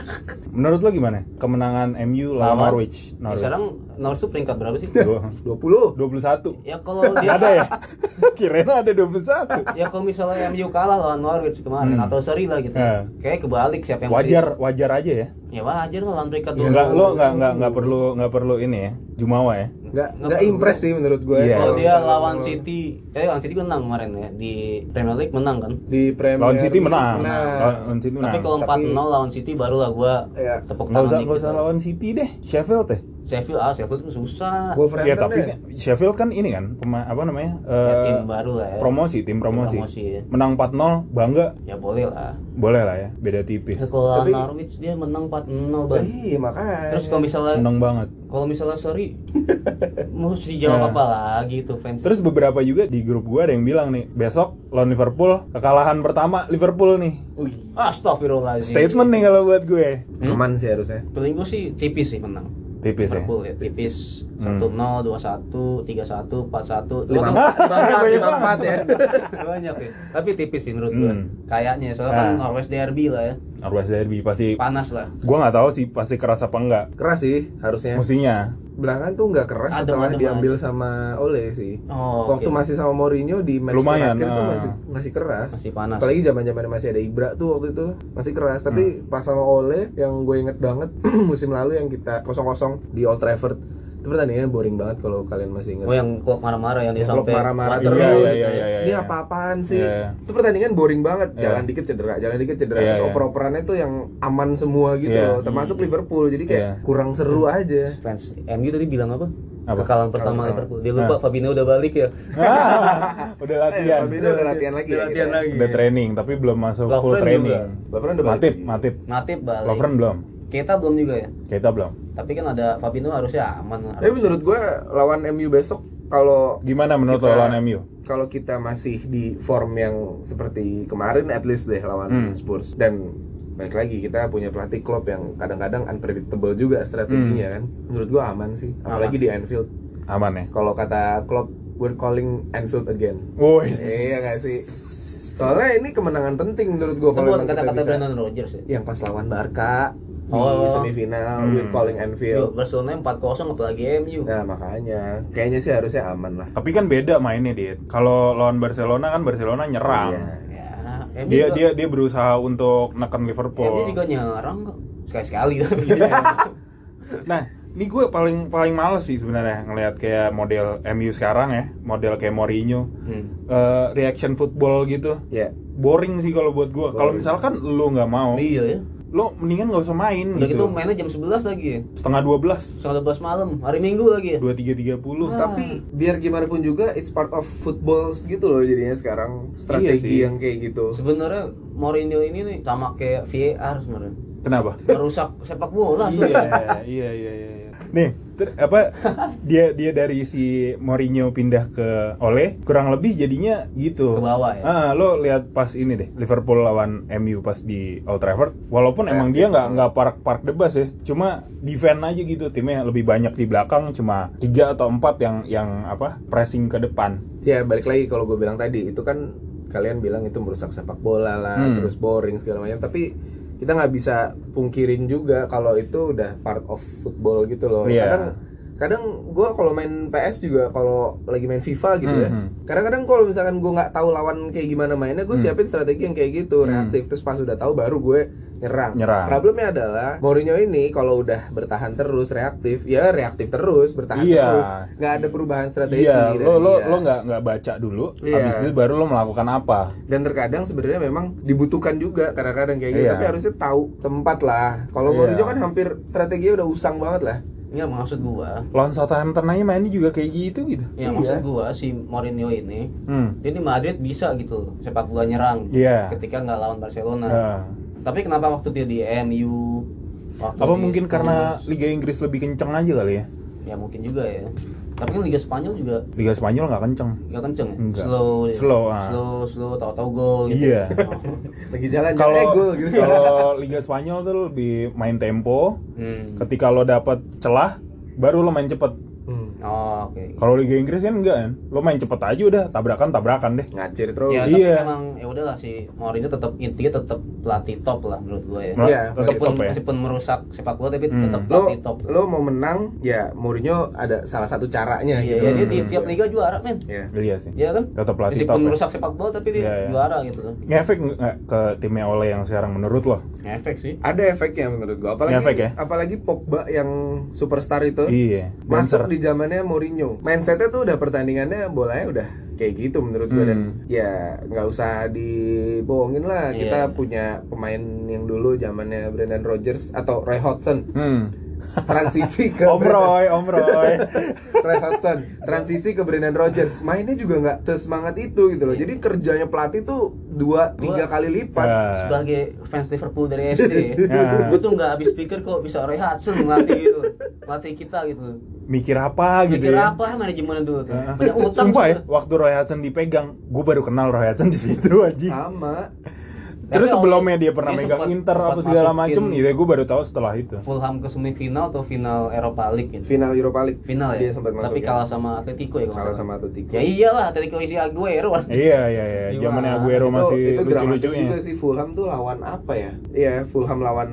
Speaker 1: Menurut lo gimana? Kemenangan MU lawan
Speaker 2: Lawan-
Speaker 1: Norwich.
Speaker 2: Ya,
Speaker 1: Norwich.
Speaker 2: sekarang Norwich tuh peringkat berapa sih? [LAUGHS]
Speaker 1: Dua-
Speaker 3: 20.
Speaker 1: 21.
Speaker 2: ya kalau dia
Speaker 1: ada ya? [LAUGHS] Kirain ada 21.
Speaker 2: ya kalau misalnya MU kalah lawan Norwich kemarin
Speaker 1: Hmm.
Speaker 2: atau seri lah gitu.
Speaker 1: Eh.
Speaker 2: Kayak kebalik siapa yang
Speaker 1: Wajar wajar aja ya.
Speaker 2: mesti- Ya wajar lah lawan peringkat dua.
Speaker 1: Enggak lo enggak enggak enggak perlu enggak perlu ini ya. Jumawa ya.
Speaker 3: Enggak enggak impress sih menurut ya. gue.
Speaker 1: Iya.
Speaker 2: Kalau dia lawan City, eh lawan City menang kemarin ya di Premier League menang kan.
Speaker 3: di Premier
Speaker 1: Lawan City menang.
Speaker 3: Nah,
Speaker 1: Lawan City menang.
Speaker 2: Tapi kalau 4-0 lawan City barulah gua
Speaker 3: Iya.
Speaker 2: tepuk
Speaker 1: Nggak
Speaker 2: tangan.
Speaker 1: usah
Speaker 2: dikit.
Speaker 1: nggak usah lawan City deh. Sheffield deh.
Speaker 2: Sheffield ah Sheffield tuh susah.
Speaker 3: Wolverhampton
Speaker 1: Ya tapi
Speaker 3: deh.
Speaker 1: Sheffield kan ini kan pema- apa namanya?
Speaker 2: Ya,
Speaker 1: eh,
Speaker 2: tim baru lah ya.
Speaker 1: promosi, tim promosi.
Speaker 2: promosi, ya.
Speaker 1: Menang 4-0 bangga.
Speaker 2: Ya boleh lah.
Speaker 1: Boleh lah ya, beda
Speaker 2: Ya,
Speaker 1: tipis.
Speaker 2: kalau lawan
Speaker 3: Tapi-
Speaker 2: Norwich dia menang 4-0 bang.
Speaker 3: Iya, makanya.
Speaker 2: Terus kalau misalnya
Speaker 1: Seneng banget.
Speaker 2: kalau misalnya sorry,
Speaker 1: [LAUGHS]
Speaker 2: mesti jawab
Speaker 1: Ya.
Speaker 2: apa lagi tuh fans.
Speaker 1: Terus beberapa juga di grup gua ada yang bilang nih, besok lawan Liverpool kekalahan pertama Liverpool nih.
Speaker 3: Wih,
Speaker 1: Iya,
Speaker 2: Astagfirullahaladzim.
Speaker 1: Statement nih kalau buat gue.
Speaker 3: aman sih harusnya.
Speaker 2: Paling gue sih tipis sih menang.
Speaker 1: Tipis ya.
Speaker 2: Liverpool ya, tipis 1-0, 2-1, 3-1, 4-1 Waduh,
Speaker 3: Lima empat, lima empat ya.
Speaker 2: banyak ya tapi tipis sih menurut gue
Speaker 1: Hmm.
Speaker 2: kayaknya soalnya kan
Speaker 1: Ah.
Speaker 2: Norwest derby lah ya
Speaker 1: Norwich derby pasti
Speaker 2: panas lah
Speaker 1: gua nggak tahu sih pasti keras apa enggak.
Speaker 3: Keras sih
Speaker 2: Iya.
Speaker 3: harusnya.
Speaker 2: [LAUGHS]
Speaker 1: Mestinya.
Speaker 3: Belakangan tuh nggak keras
Speaker 2: Adem,
Speaker 3: setelah
Speaker 2: adem
Speaker 3: diambil sama Ole sih.
Speaker 2: Oh,
Speaker 3: Waktu
Speaker 2: oke.
Speaker 3: masih sama Mourinho di match
Speaker 1: Lumayan,
Speaker 3: terakhir tuh
Speaker 1: ah.
Speaker 3: masih masih keras.
Speaker 2: Masih panas.
Speaker 3: Apalagi zaman-zaman masih ada Ibra tuh waktu itu masih keras. Tapi
Speaker 1: Hmm.
Speaker 3: pas sama Ole yang gue inget banget [CLEARS THROAT] musim lalu yang kita kosong-kosong di Old Trafford itu pertandingannya boring banget kalau kalian masih ingat.
Speaker 2: oh yang klub marah-marah yang dia
Speaker 3: Iya. Yang klub
Speaker 2: sampai
Speaker 3: marah-marah
Speaker 1: Iya,
Speaker 3: terus.
Speaker 1: iya, iya, iya, iya,
Speaker 3: Ini
Speaker 1: iya.
Speaker 3: apa-apaan sih?
Speaker 1: Iya, iya.
Speaker 3: Itu pertandingan boring banget. Jalan
Speaker 1: Iya.
Speaker 3: dikit cedera, jalan dikit cedera.
Speaker 1: Iya,
Speaker 3: Terus
Speaker 1: iya.
Speaker 3: oper-operannya tuh yang aman semua gitu
Speaker 1: Iya.
Speaker 3: loh. Termasuk Liverpool. Jadi kayak
Speaker 1: Iya.
Speaker 3: kurang seru aja.
Speaker 2: fans MU tadi bilang apa?
Speaker 1: Apa?
Speaker 2: kekalahan pertama
Speaker 3: iya. Kekalahan
Speaker 2: Liverpool dia lupa Fabinho udah balik ya
Speaker 1: udah latihan.
Speaker 3: Eh, Fabinho udah latihan lagi ya
Speaker 2: latihan
Speaker 3: kita.
Speaker 2: lagi
Speaker 1: Udah training tapi belum masuk
Speaker 2: Lovren
Speaker 1: full
Speaker 2: juga.
Speaker 1: training.
Speaker 3: Lovren udah balik.
Speaker 1: Matip, Matip.
Speaker 2: Matip balik
Speaker 1: Lovren belum.
Speaker 2: kita belum juga ya
Speaker 1: Kita belum.
Speaker 2: tapi kan ada Fabinho harusnya aman lah
Speaker 3: Tapi menurut gue lawan MU besok kalau
Speaker 1: Gimana menurut lo
Speaker 3: Kita-
Speaker 1: lawan MU?
Speaker 3: kalau kita masih di form yang seperti kemarin at least deh lawan
Speaker 1: Hmm.
Speaker 3: Spurs dan balik lagi kita punya pelatih klub yang kadang-kadang unpredictable juga
Speaker 1: Hmm.
Speaker 3: strateginya kan. Menurut gue aman sih, apalagi di Anfield.
Speaker 1: Aman ya?
Speaker 3: Kalau kata Klopp, we're calling Anfield again.
Speaker 1: [LAUGHS] Woi.
Speaker 2: Eh.
Speaker 3: Iya nggak sih? Soalnya ini kemenangan penting menurut gue
Speaker 2: itu
Speaker 3: kalau
Speaker 2: bukan
Speaker 3: emang kita
Speaker 2: kata-kata
Speaker 3: bisa.
Speaker 2: Brandon Rodgers ya
Speaker 3: Yang pas lawan Barca
Speaker 2: Oh.
Speaker 3: di semifinal, we're calling
Speaker 2: Yuk,
Speaker 3: Anfield.
Speaker 2: Barcelona 4-0 apalagi MU
Speaker 3: Iya. Nah makanya, kayaknya sih harusnya aman lah.
Speaker 1: Tapi kan beda mainnya, Dit. Kalau lawan Barcelona kan Barcelona nyerang.
Speaker 3: Iya.
Speaker 2: ya MU
Speaker 1: Dia
Speaker 2: juga-
Speaker 1: dia dia berusaha untuk neken
Speaker 2: MU
Speaker 1: Liverpool.
Speaker 2: juga nyerang kok sekali-sekali
Speaker 1: [LAUGHS] Iya. Nah, ini gue paling paling males sih sebenarnya ngelihat kayak model MU sekarang ya, model kayak Mourinho.
Speaker 2: Hmm.
Speaker 1: Eh, reaction football gitu.
Speaker 3: Ya.
Speaker 1: Boring sih kalau buat gue. Kalau misalkan lu nggak mau,
Speaker 2: iya ya
Speaker 1: lo mendingan nggak usah main
Speaker 2: udah
Speaker 1: Oh.
Speaker 2: gitu
Speaker 1: Hmm, gitu.
Speaker 2: mainnya jam 11 lagi ya
Speaker 1: Setengah 12,
Speaker 2: setengah 12 malam hari minggu lagi ya
Speaker 1: 23.30.
Speaker 3: Tapi biar gimana pun juga it's part of football gitu loh jadinya sekarang
Speaker 1: Iya
Speaker 3: strategi
Speaker 1: sih.
Speaker 3: yang kayak gitu.
Speaker 2: sebenarnya Mourinho ini nih sama kayak VAR sebenarnya
Speaker 1: Kenapa?
Speaker 2: merusak sepak
Speaker 1: iya,
Speaker 2: bola sebenarnya
Speaker 1: iya, iya, iya. iya. Nih, ter- apa dia dia dari si Mourinho pindah ke Ole kurang lebih jadinya gitu.
Speaker 2: Ke bawah ya?
Speaker 1: Ah, lo lihat pas ini deh Liverpool lawan MU pas di Old Trafford. Walaupun emang dia nggak nggak park park debas ya, cuma defend aja gitu timnya lebih banyak di belakang cuma tiga atau empat yang yang apa pressing ke depan.
Speaker 3: Ya balik lagi kalau gue bilang tadi itu kan kalian bilang itu merusak sepak bola lah
Speaker 1: Hmm.
Speaker 3: terus boring segala macam tapi kita nggak bisa pungkirin juga kalau itu udah part of football gitu loh.
Speaker 1: Iya.
Speaker 3: Kadang kadang gue kalau main PS juga kalau lagi main FIFA gitu ya
Speaker 1: Mhm.
Speaker 3: kadang-kadang kalau misalkan gue nggak tahu lawan kayak gimana mainnya
Speaker 1: Hmm.
Speaker 3: gue siapin strategi yang kayak gitu reaktif terus pas udah tahu baru gue nyerang.
Speaker 1: Nyerang.
Speaker 3: problemnya adalah Mourinho ini kalau udah bertahan terus reaktif ya reaktif terus bertahan
Speaker 1: Iya.
Speaker 3: terus nggak ada perubahan strategi
Speaker 1: Iya,
Speaker 3: dari
Speaker 1: lo lo
Speaker 3: dia.
Speaker 1: lo nggak nggak baca dulu,
Speaker 3: Iya.
Speaker 1: habis itu baru lo melakukan apa?
Speaker 3: dan terkadang sebenarnya memang dibutuhkan juga kadang-kadang kayak gitu
Speaker 1: Iya.
Speaker 3: tapi harusnya tahu tempat lah
Speaker 1: Iya.
Speaker 3: kalau Mourinho kan hampir strateginya udah usang banget lah
Speaker 2: nggak Iya, maksud gua
Speaker 1: Lawan Southampton aja mainnya juga kayak gitu gitu.
Speaker 2: ya
Speaker 3: Iya.
Speaker 2: maksud gua si Mourinho ini
Speaker 1: Hmm.
Speaker 2: dia di Madrid bisa gitu sepak bola nyerang
Speaker 1: Iya.
Speaker 2: ketika nggak lawan Barcelona
Speaker 1: Ah.
Speaker 2: tapi kenapa waktu dia di MU waktu
Speaker 1: apa
Speaker 2: di
Speaker 1: mungkin
Speaker 2: Spurs,
Speaker 1: karena Liga Inggris lebih kenceng aja kali ya
Speaker 2: ya mungkin juga ya tapi kan Liga Spanyol juga
Speaker 1: Liga Spanyol nggak kenceng.
Speaker 2: nggak kenceng ya
Speaker 1: Nggak.
Speaker 2: slow ya.
Speaker 1: Slow, ah.
Speaker 2: slow slow tahu-tahu gol gitu
Speaker 1: Iya.
Speaker 3: lagi jalan
Speaker 1: Kalau
Speaker 3: jalan, eh, gol, gitu.
Speaker 1: [LAUGHS] kalau Liga Spanyol tuh lebih main tempo.
Speaker 2: Hmm.
Speaker 1: Ketika lo dapet celah, baru lo main cepet.
Speaker 3: [LAUGHS] Hmm.
Speaker 2: oh, oke
Speaker 1: Kalau Liga Inggris kan enggak kan? Lo main cepet aja udah, tabrakan tabrakan deh.
Speaker 3: ngacir terus
Speaker 1: iya.
Speaker 2: ya tapi emang ya udahlah si Mourinho tetap intinya tetap pelatih top lah menurut gue ya
Speaker 1: Mel-
Speaker 3: Iya,
Speaker 1: tetep
Speaker 2: meskipun
Speaker 1: top ya.
Speaker 2: meskipun merusak sepak bola tapi
Speaker 1: Hmm.
Speaker 2: tetap
Speaker 3: lo
Speaker 2: pelatih top
Speaker 3: lo mau menang ya Mourinho ada salah satu caranya
Speaker 2: iya
Speaker 3: gitu
Speaker 2: iya, dia di tiap liga juara men
Speaker 3: Iya.
Speaker 1: Iya sih.
Speaker 2: Iya kan
Speaker 1: Tetap pelatih
Speaker 2: meskipun
Speaker 1: top ya.
Speaker 2: merusak sepak bola tapi dia
Speaker 1: Iya, iya.
Speaker 2: juara gitu loh
Speaker 1: Ngefek nggak ke timnya Ole yang sekarang menurut lo?
Speaker 2: efek sih
Speaker 3: ada efeknya menurut gua apalagi
Speaker 1: Ngefek ya?
Speaker 3: apalagi Pogba yang superstar itu
Speaker 1: Iya. Dancer.
Speaker 3: masuk di zamannya Mourinho mindsetnya tuh udah pertandingannya bolanya udah kayak gitu menurut gue
Speaker 1: Hmm.
Speaker 3: dan ya nggak usah dibohongin lah
Speaker 2: Iya.
Speaker 3: kita punya pemain yang dulu zamannya Brendan Rodgers atau Roy Hodgson
Speaker 1: Hmm.
Speaker 3: transisi
Speaker 1: [LAUGHS]
Speaker 3: ke
Speaker 1: Om Roy, Om
Speaker 3: [LAUGHS]
Speaker 1: Roy.
Speaker 3: Roy Hodgson transisi ke Brendan Rodgers mainnya juga nggak sesemangat itu gitu loh jadi kerjanya pelatih tuh dua tiga kali lipat
Speaker 1: Ya.
Speaker 2: sebagai fans Liverpool dari
Speaker 3: [LAUGHS]
Speaker 2: SD
Speaker 1: Ya.
Speaker 2: gue tuh nggak habis pikir kok bisa Roy Hudson melatih gitu melatih kita gitu
Speaker 1: Mikir
Speaker 3: Ah,
Speaker 1: apa gitu
Speaker 2: mikir
Speaker 1: ya?
Speaker 2: apa manajemennya dulu tuh
Speaker 1: Heeh.
Speaker 2: banyak utang
Speaker 1: Sumpah ya,
Speaker 2: gitu.
Speaker 1: waktu Roy Hudson dipegang, gue baru kenal Roy Hudson di situ aja.
Speaker 3: sama
Speaker 1: Terus
Speaker 2: Tapi
Speaker 1: sebelumnya dia pernah
Speaker 2: dia
Speaker 1: megang
Speaker 2: sempat-
Speaker 1: Inter
Speaker 2: sempat
Speaker 1: apa segala
Speaker 2: masukin
Speaker 1: macem, gitu. Gue baru tahu setelah itu.
Speaker 2: Fulham ke semifinal atau final Eropa League gitu
Speaker 3: ya? final Europa League
Speaker 2: final ya
Speaker 3: dia sempat masuk
Speaker 2: tapi
Speaker 3: ya.
Speaker 2: kalah sama Atletico ya kalau
Speaker 3: kalah
Speaker 2: nggak salah.
Speaker 3: sama Atletico
Speaker 2: ya iyalah Atletico isi
Speaker 3: [LAUGHS]
Speaker 2: Aguero
Speaker 1: Iya iya iya,
Speaker 2: Gimana?
Speaker 1: zamannya Aguero
Speaker 3: Itu-
Speaker 1: masih
Speaker 3: itu dramatis
Speaker 1: lucu-lucunya.
Speaker 3: juga sih Fulham tuh lawan apa ya? Iya, Fulham lawan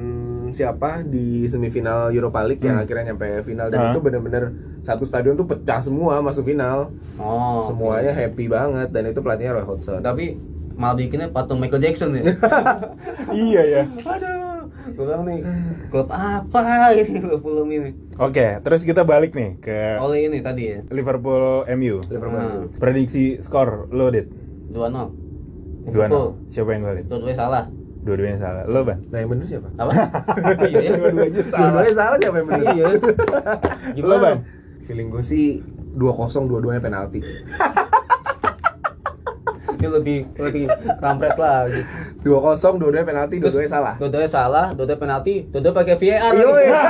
Speaker 3: siapa di semifinal Europa League yang
Speaker 1: Hmm.
Speaker 3: akhirnya nyampe final
Speaker 1: Hah?
Speaker 3: dan itu bener-bener satu stadion tuh pecah semua masuk final.
Speaker 2: oh
Speaker 3: Semuanya happy banget dan itu pelatihnya Roy Hodgson.
Speaker 2: tapi malah bikinnya patung Michael Jackson
Speaker 3: [LAUGHS]
Speaker 2: ya
Speaker 1: [LAUGHS] Iya ya.
Speaker 2: aduh gue bilang nih klub apa [LAUGHS] ini klub Fulham ini
Speaker 1: Oke, terus kita balik nih ke
Speaker 2: oleh ini tadi ya Nah.
Speaker 1: Liverpool MU.
Speaker 3: Liverpool.
Speaker 1: Prediksi skor lo dit
Speaker 2: dua nol
Speaker 1: dua Siapa yang golin?
Speaker 2: dua dua salah
Speaker 1: Dua-duanya salah. Lo ban?
Speaker 3: Nah, yang bener siapa?
Speaker 2: apa iya ya.
Speaker 1: Dua-duanya [LAUGHS] salah.
Speaker 3: Dua-duanya salah siapa yang bener?
Speaker 2: iya
Speaker 1: Lo ban?
Speaker 2: gimana
Speaker 3: Feeling gue sih 2-0 dua-duanya penalti.
Speaker 2: ini lebih lebih kampret lagi
Speaker 3: 2-0 dua-duanya penalti, dua-duanya salah.
Speaker 2: dua-duanya salah dua-duanya penalti dua-duanya pakai VAR
Speaker 3: Iya,
Speaker 2: lagi.
Speaker 3: iya.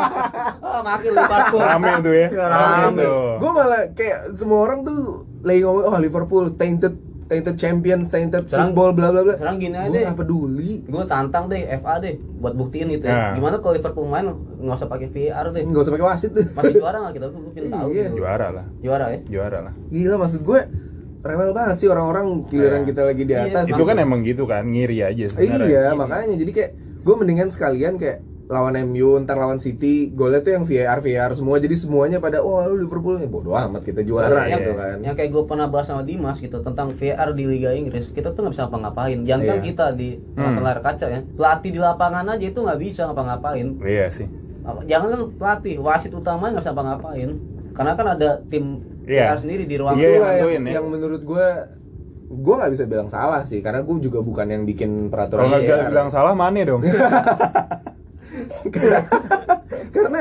Speaker 2: [LAUGHS] ah makin Liverpool
Speaker 1: Rame tuh ya. Rame
Speaker 2: Rame.
Speaker 1: tuh.
Speaker 3: Gue malah kayak semua orang tuh lagi ngomong oh Liverpool tainted tainted champions, tainted
Speaker 2: Serang-
Speaker 3: football bla bla bla.
Speaker 2: serang gini aja
Speaker 3: Gue
Speaker 2: deh.
Speaker 3: gak peduli.
Speaker 2: gue tantang deh FA deh buat buktiin gitu ya.
Speaker 1: Ya.
Speaker 2: gimana kalau Liverpool main nggak usah pakai VAR deh
Speaker 3: Gak usah pakai wasit tuh.
Speaker 2: masih juara nggak kita gue pengen tahu
Speaker 3: Iya.
Speaker 2: gitu.
Speaker 1: Juara lah.
Speaker 2: juara ya
Speaker 1: Juara lah.
Speaker 3: [LAUGHS] Gila maksud gue rewel banget sih orang-orang giliran
Speaker 1: Iya.
Speaker 3: kita lagi di
Speaker 2: Iya,
Speaker 3: atas.
Speaker 1: Itu kan emang gitu kan, ngiri aja
Speaker 3: Iya,
Speaker 1: sebenarnya.
Speaker 3: makanya jadi kayak gue mendingan sekalian kayak lawan MU, ntar lawan City, golnya tuh yang VAR VAR semua. Jadi semuanya pada oh lu Liverpool nih bodo amat kita juara
Speaker 2: yang,
Speaker 3: gitu kan.
Speaker 2: Iya, yang kayak gue pernah bahas sama Dimas gitu tentang VR di Liga Inggris kita tuh nggak bisa ngapa-ngapain jangan
Speaker 3: Iya.
Speaker 2: kita di depan layar kaca ya pelatih di lapangan aja itu nggak bisa ngapa-ngapain
Speaker 1: Iya sih.
Speaker 2: Apa- jangan kan pelatih wasit utama nggak bisa ngapa-ngapain karena kan ada tim
Speaker 1: Iya.
Speaker 2: VR sendiri di ruang
Speaker 1: Iya,
Speaker 3: Itulah
Speaker 1: yang
Speaker 2: ruang.
Speaker 3: yang,
Speaker 1: nentuin ya.
Speaker 3: yang menurut gue gue nggak bisa bilang salah sih karena gue juga bukan yang bikin peraturan Iya.
Speaker 1: Kalau nggak bisa
Speaker 3: VAR.
Speaker 1: bilang salah, mana dong?
Speaker 3: [LAUGHS] karena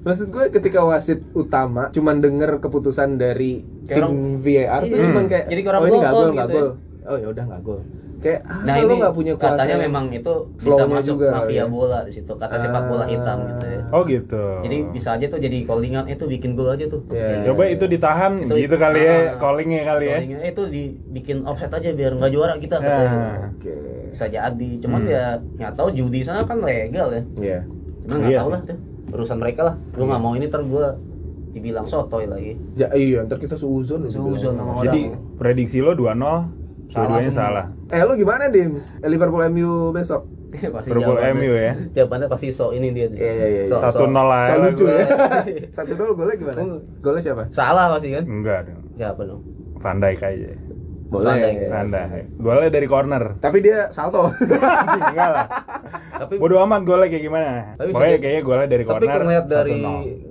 Speaker 3: maksud gue ketika wasit utama cuman denger keputusan dari
Speaker 2: Kayak
Speaker 3: tim
Speaker 2: orang-
Speaker 3: VAR tuh
Speaker 2: Iya.
Speaker 3: cuman kayak
Speaker 2: Jadi kayak orang
Speaker 3: oh ini nggak
Speaker 2: bohong
Speaker 3: gol nggak
Speaker 2: gitu
Speaker 3: gol oh ya udah nggak gol kayak ah,
Speaker 2: nah
Speaker 3: lo
Speaker 2: ini
Speaker 3: nggak punya kuasa
Speaker 2: katanya
Speaker 3: yang-
Speaker 2: memang itu bisa
Speaker 3: flow-nya
Speaker 2: masuk
Speaker 3: juga, Ah.
Speaker 2: mafia
Speaker 3: ya.
Speaker 2: bola di situ kata sepak bola hitam gitu ya
Speaker 1: Oh gitu.
Speaker 2: jadi bisa aja tuh jadi callingan itu bikin gol aja tuh
Speaker 3: Iya.
Speaker 1: Coba itu ditahan
Speaker 2: Itu-
Speaker 1: gitu kali ya,
Speaker 2: Ah.
Speaker 1: callingnya kali ya.
Speaker 2: Callingan, eh, itu dibikin offset aja biar nggak juara kita katanya.
Speaker 1: Nah,
Speaker 3: oke
Speaker 2: bisa jadi cuman
Speaker 1: Hmm.
Speaker 2: ya nggak tahu judi sana kan legal ya
Speaker 3: Iya.
Speaker 2: cuman nggak
Speaker 1: Iya
Speaker 2: tahu
Speaker 1: sih.
Speaker 2: lah tuh urusan mereka lah gue nggak mau ini ter gue dibilang sotoy lagi [LAUGHS]
Speaker 3: ya iya ntar kita seuzon lo
Speaker 2: Seuzon
Speaker 3: bilang.
Speaker 2: sama orang.
Speaker 1: jadi prediksi lo 2-0, dua-duanya
Speaker 2: semua.
Speaker 1: salah.
Speaker 3: eh lo gimana Dims Eh, Liverpool MU besok
Speaker 2: pasti
Speaker 1: Liverpool MU ya.
Speaker 2: jawabannya pasti so ini dia
Speaker 3: Iya, iya, iya.
Speaker 2: So- so.
Speaker 1: Satu nol aja.
Speaker 3: so
Speaker 1: lah
Speaker 3: lucu
Speaker 1: gue.
Speaker 3: ya [LAUGHS] satu nol golnya gimana golnya siapa
Speaker 2: salah pasti kan
Speaker 1: Enggak dong.
Speaker 2: siapa dong
Speaker 1: Van Dijk aja.
Speaker 2: Boleh.
Speaker 1: Van Dijk. Golnya dari
Speaker 2: [LAUGHS]
Speaker 1: corner.
Speaker 3: tapi dia salto [LAUGHS]
Speaker 1: Enggak lah.
Speaker 2: tapi
Speaker 1: Bodoh amat golnya kayak gimana.
Speaker 2: Tapi
Speaker 1: Pokoknya
Speaker 2: bisa-
Speaker 1: kayaknya golnya dari
Speaker 2: tapi
Speaker 1: corner. Hmm.
Speaker 2: kalau ngeliat dari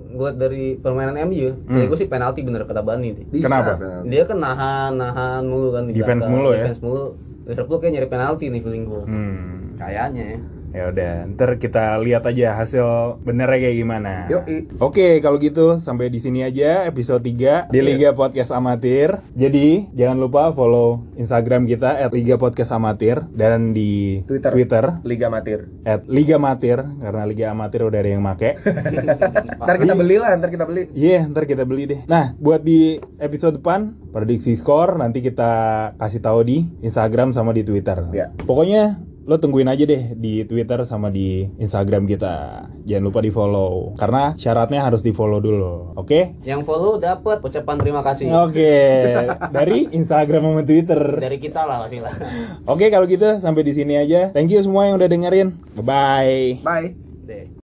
Speaker 1: 1-0.
Speaker 2: gue dari permainan MU jadi gue sih penalti bener kata Bani deh
Speaker 3: Bisa,
Speaker 1: Kenapa?
Speaker 3: Bang.
Speaker 2: dia kan nahan nahan mulu kan di
Speaker 1: Defense
Speaker 2: belakang.
Speaker 1: mulu ya?
Speaker 2: defense mulu Liverpool kayak nyari penalti nih feeling gue
Speaker 1: Hmm.
Speaker 2: kayaknya ya
Speaker 1: Ya udah, ntar kita lihat aja hasil benernya kayak gimana.
Speaker 3: Yoi.
Speaker 1: Oke, kalau gitu sampai di sini aja episode 3 di Liga Podcast Amatir. Jadi, jangan lupa follow Instagram kita @liga podcast amatir dan di
Speaker 3: Twitter.
Speaker 1: Twitter
Speaker 3: Liga Matir.
Speaker 1: at Liga Matir karena Liga Amatir udah ada yang make.
Speaker 3: Ntar kita belilah, ntar kita beli.
Speaker 1: Iya, ntar kita beli deh. Nah, buat di episode depan prediksi skor nanti kita kasih tahu di Instagram sama di Twitter.
Speaker 3: Iya.
Speaker 1: Pokoknya lo tungguin aja deh di Twitter sama di Instagram kita. Jangan lupa di follow karena syaratnya harus di follow dulu. Oke?
Speaker 2: Yang follow dapat ucapan terima kasih
Speaker 1: Oke. Dari Instagram sama Twitter.
Speaker 2: dari kita lah pasti lah.
Speaker 1: Oke, kalau gitu sampai di sini aja. Thank you semua yang udah dengerin. Bye bye.
Speaker 3: Bye.
Speaker 2: Deh.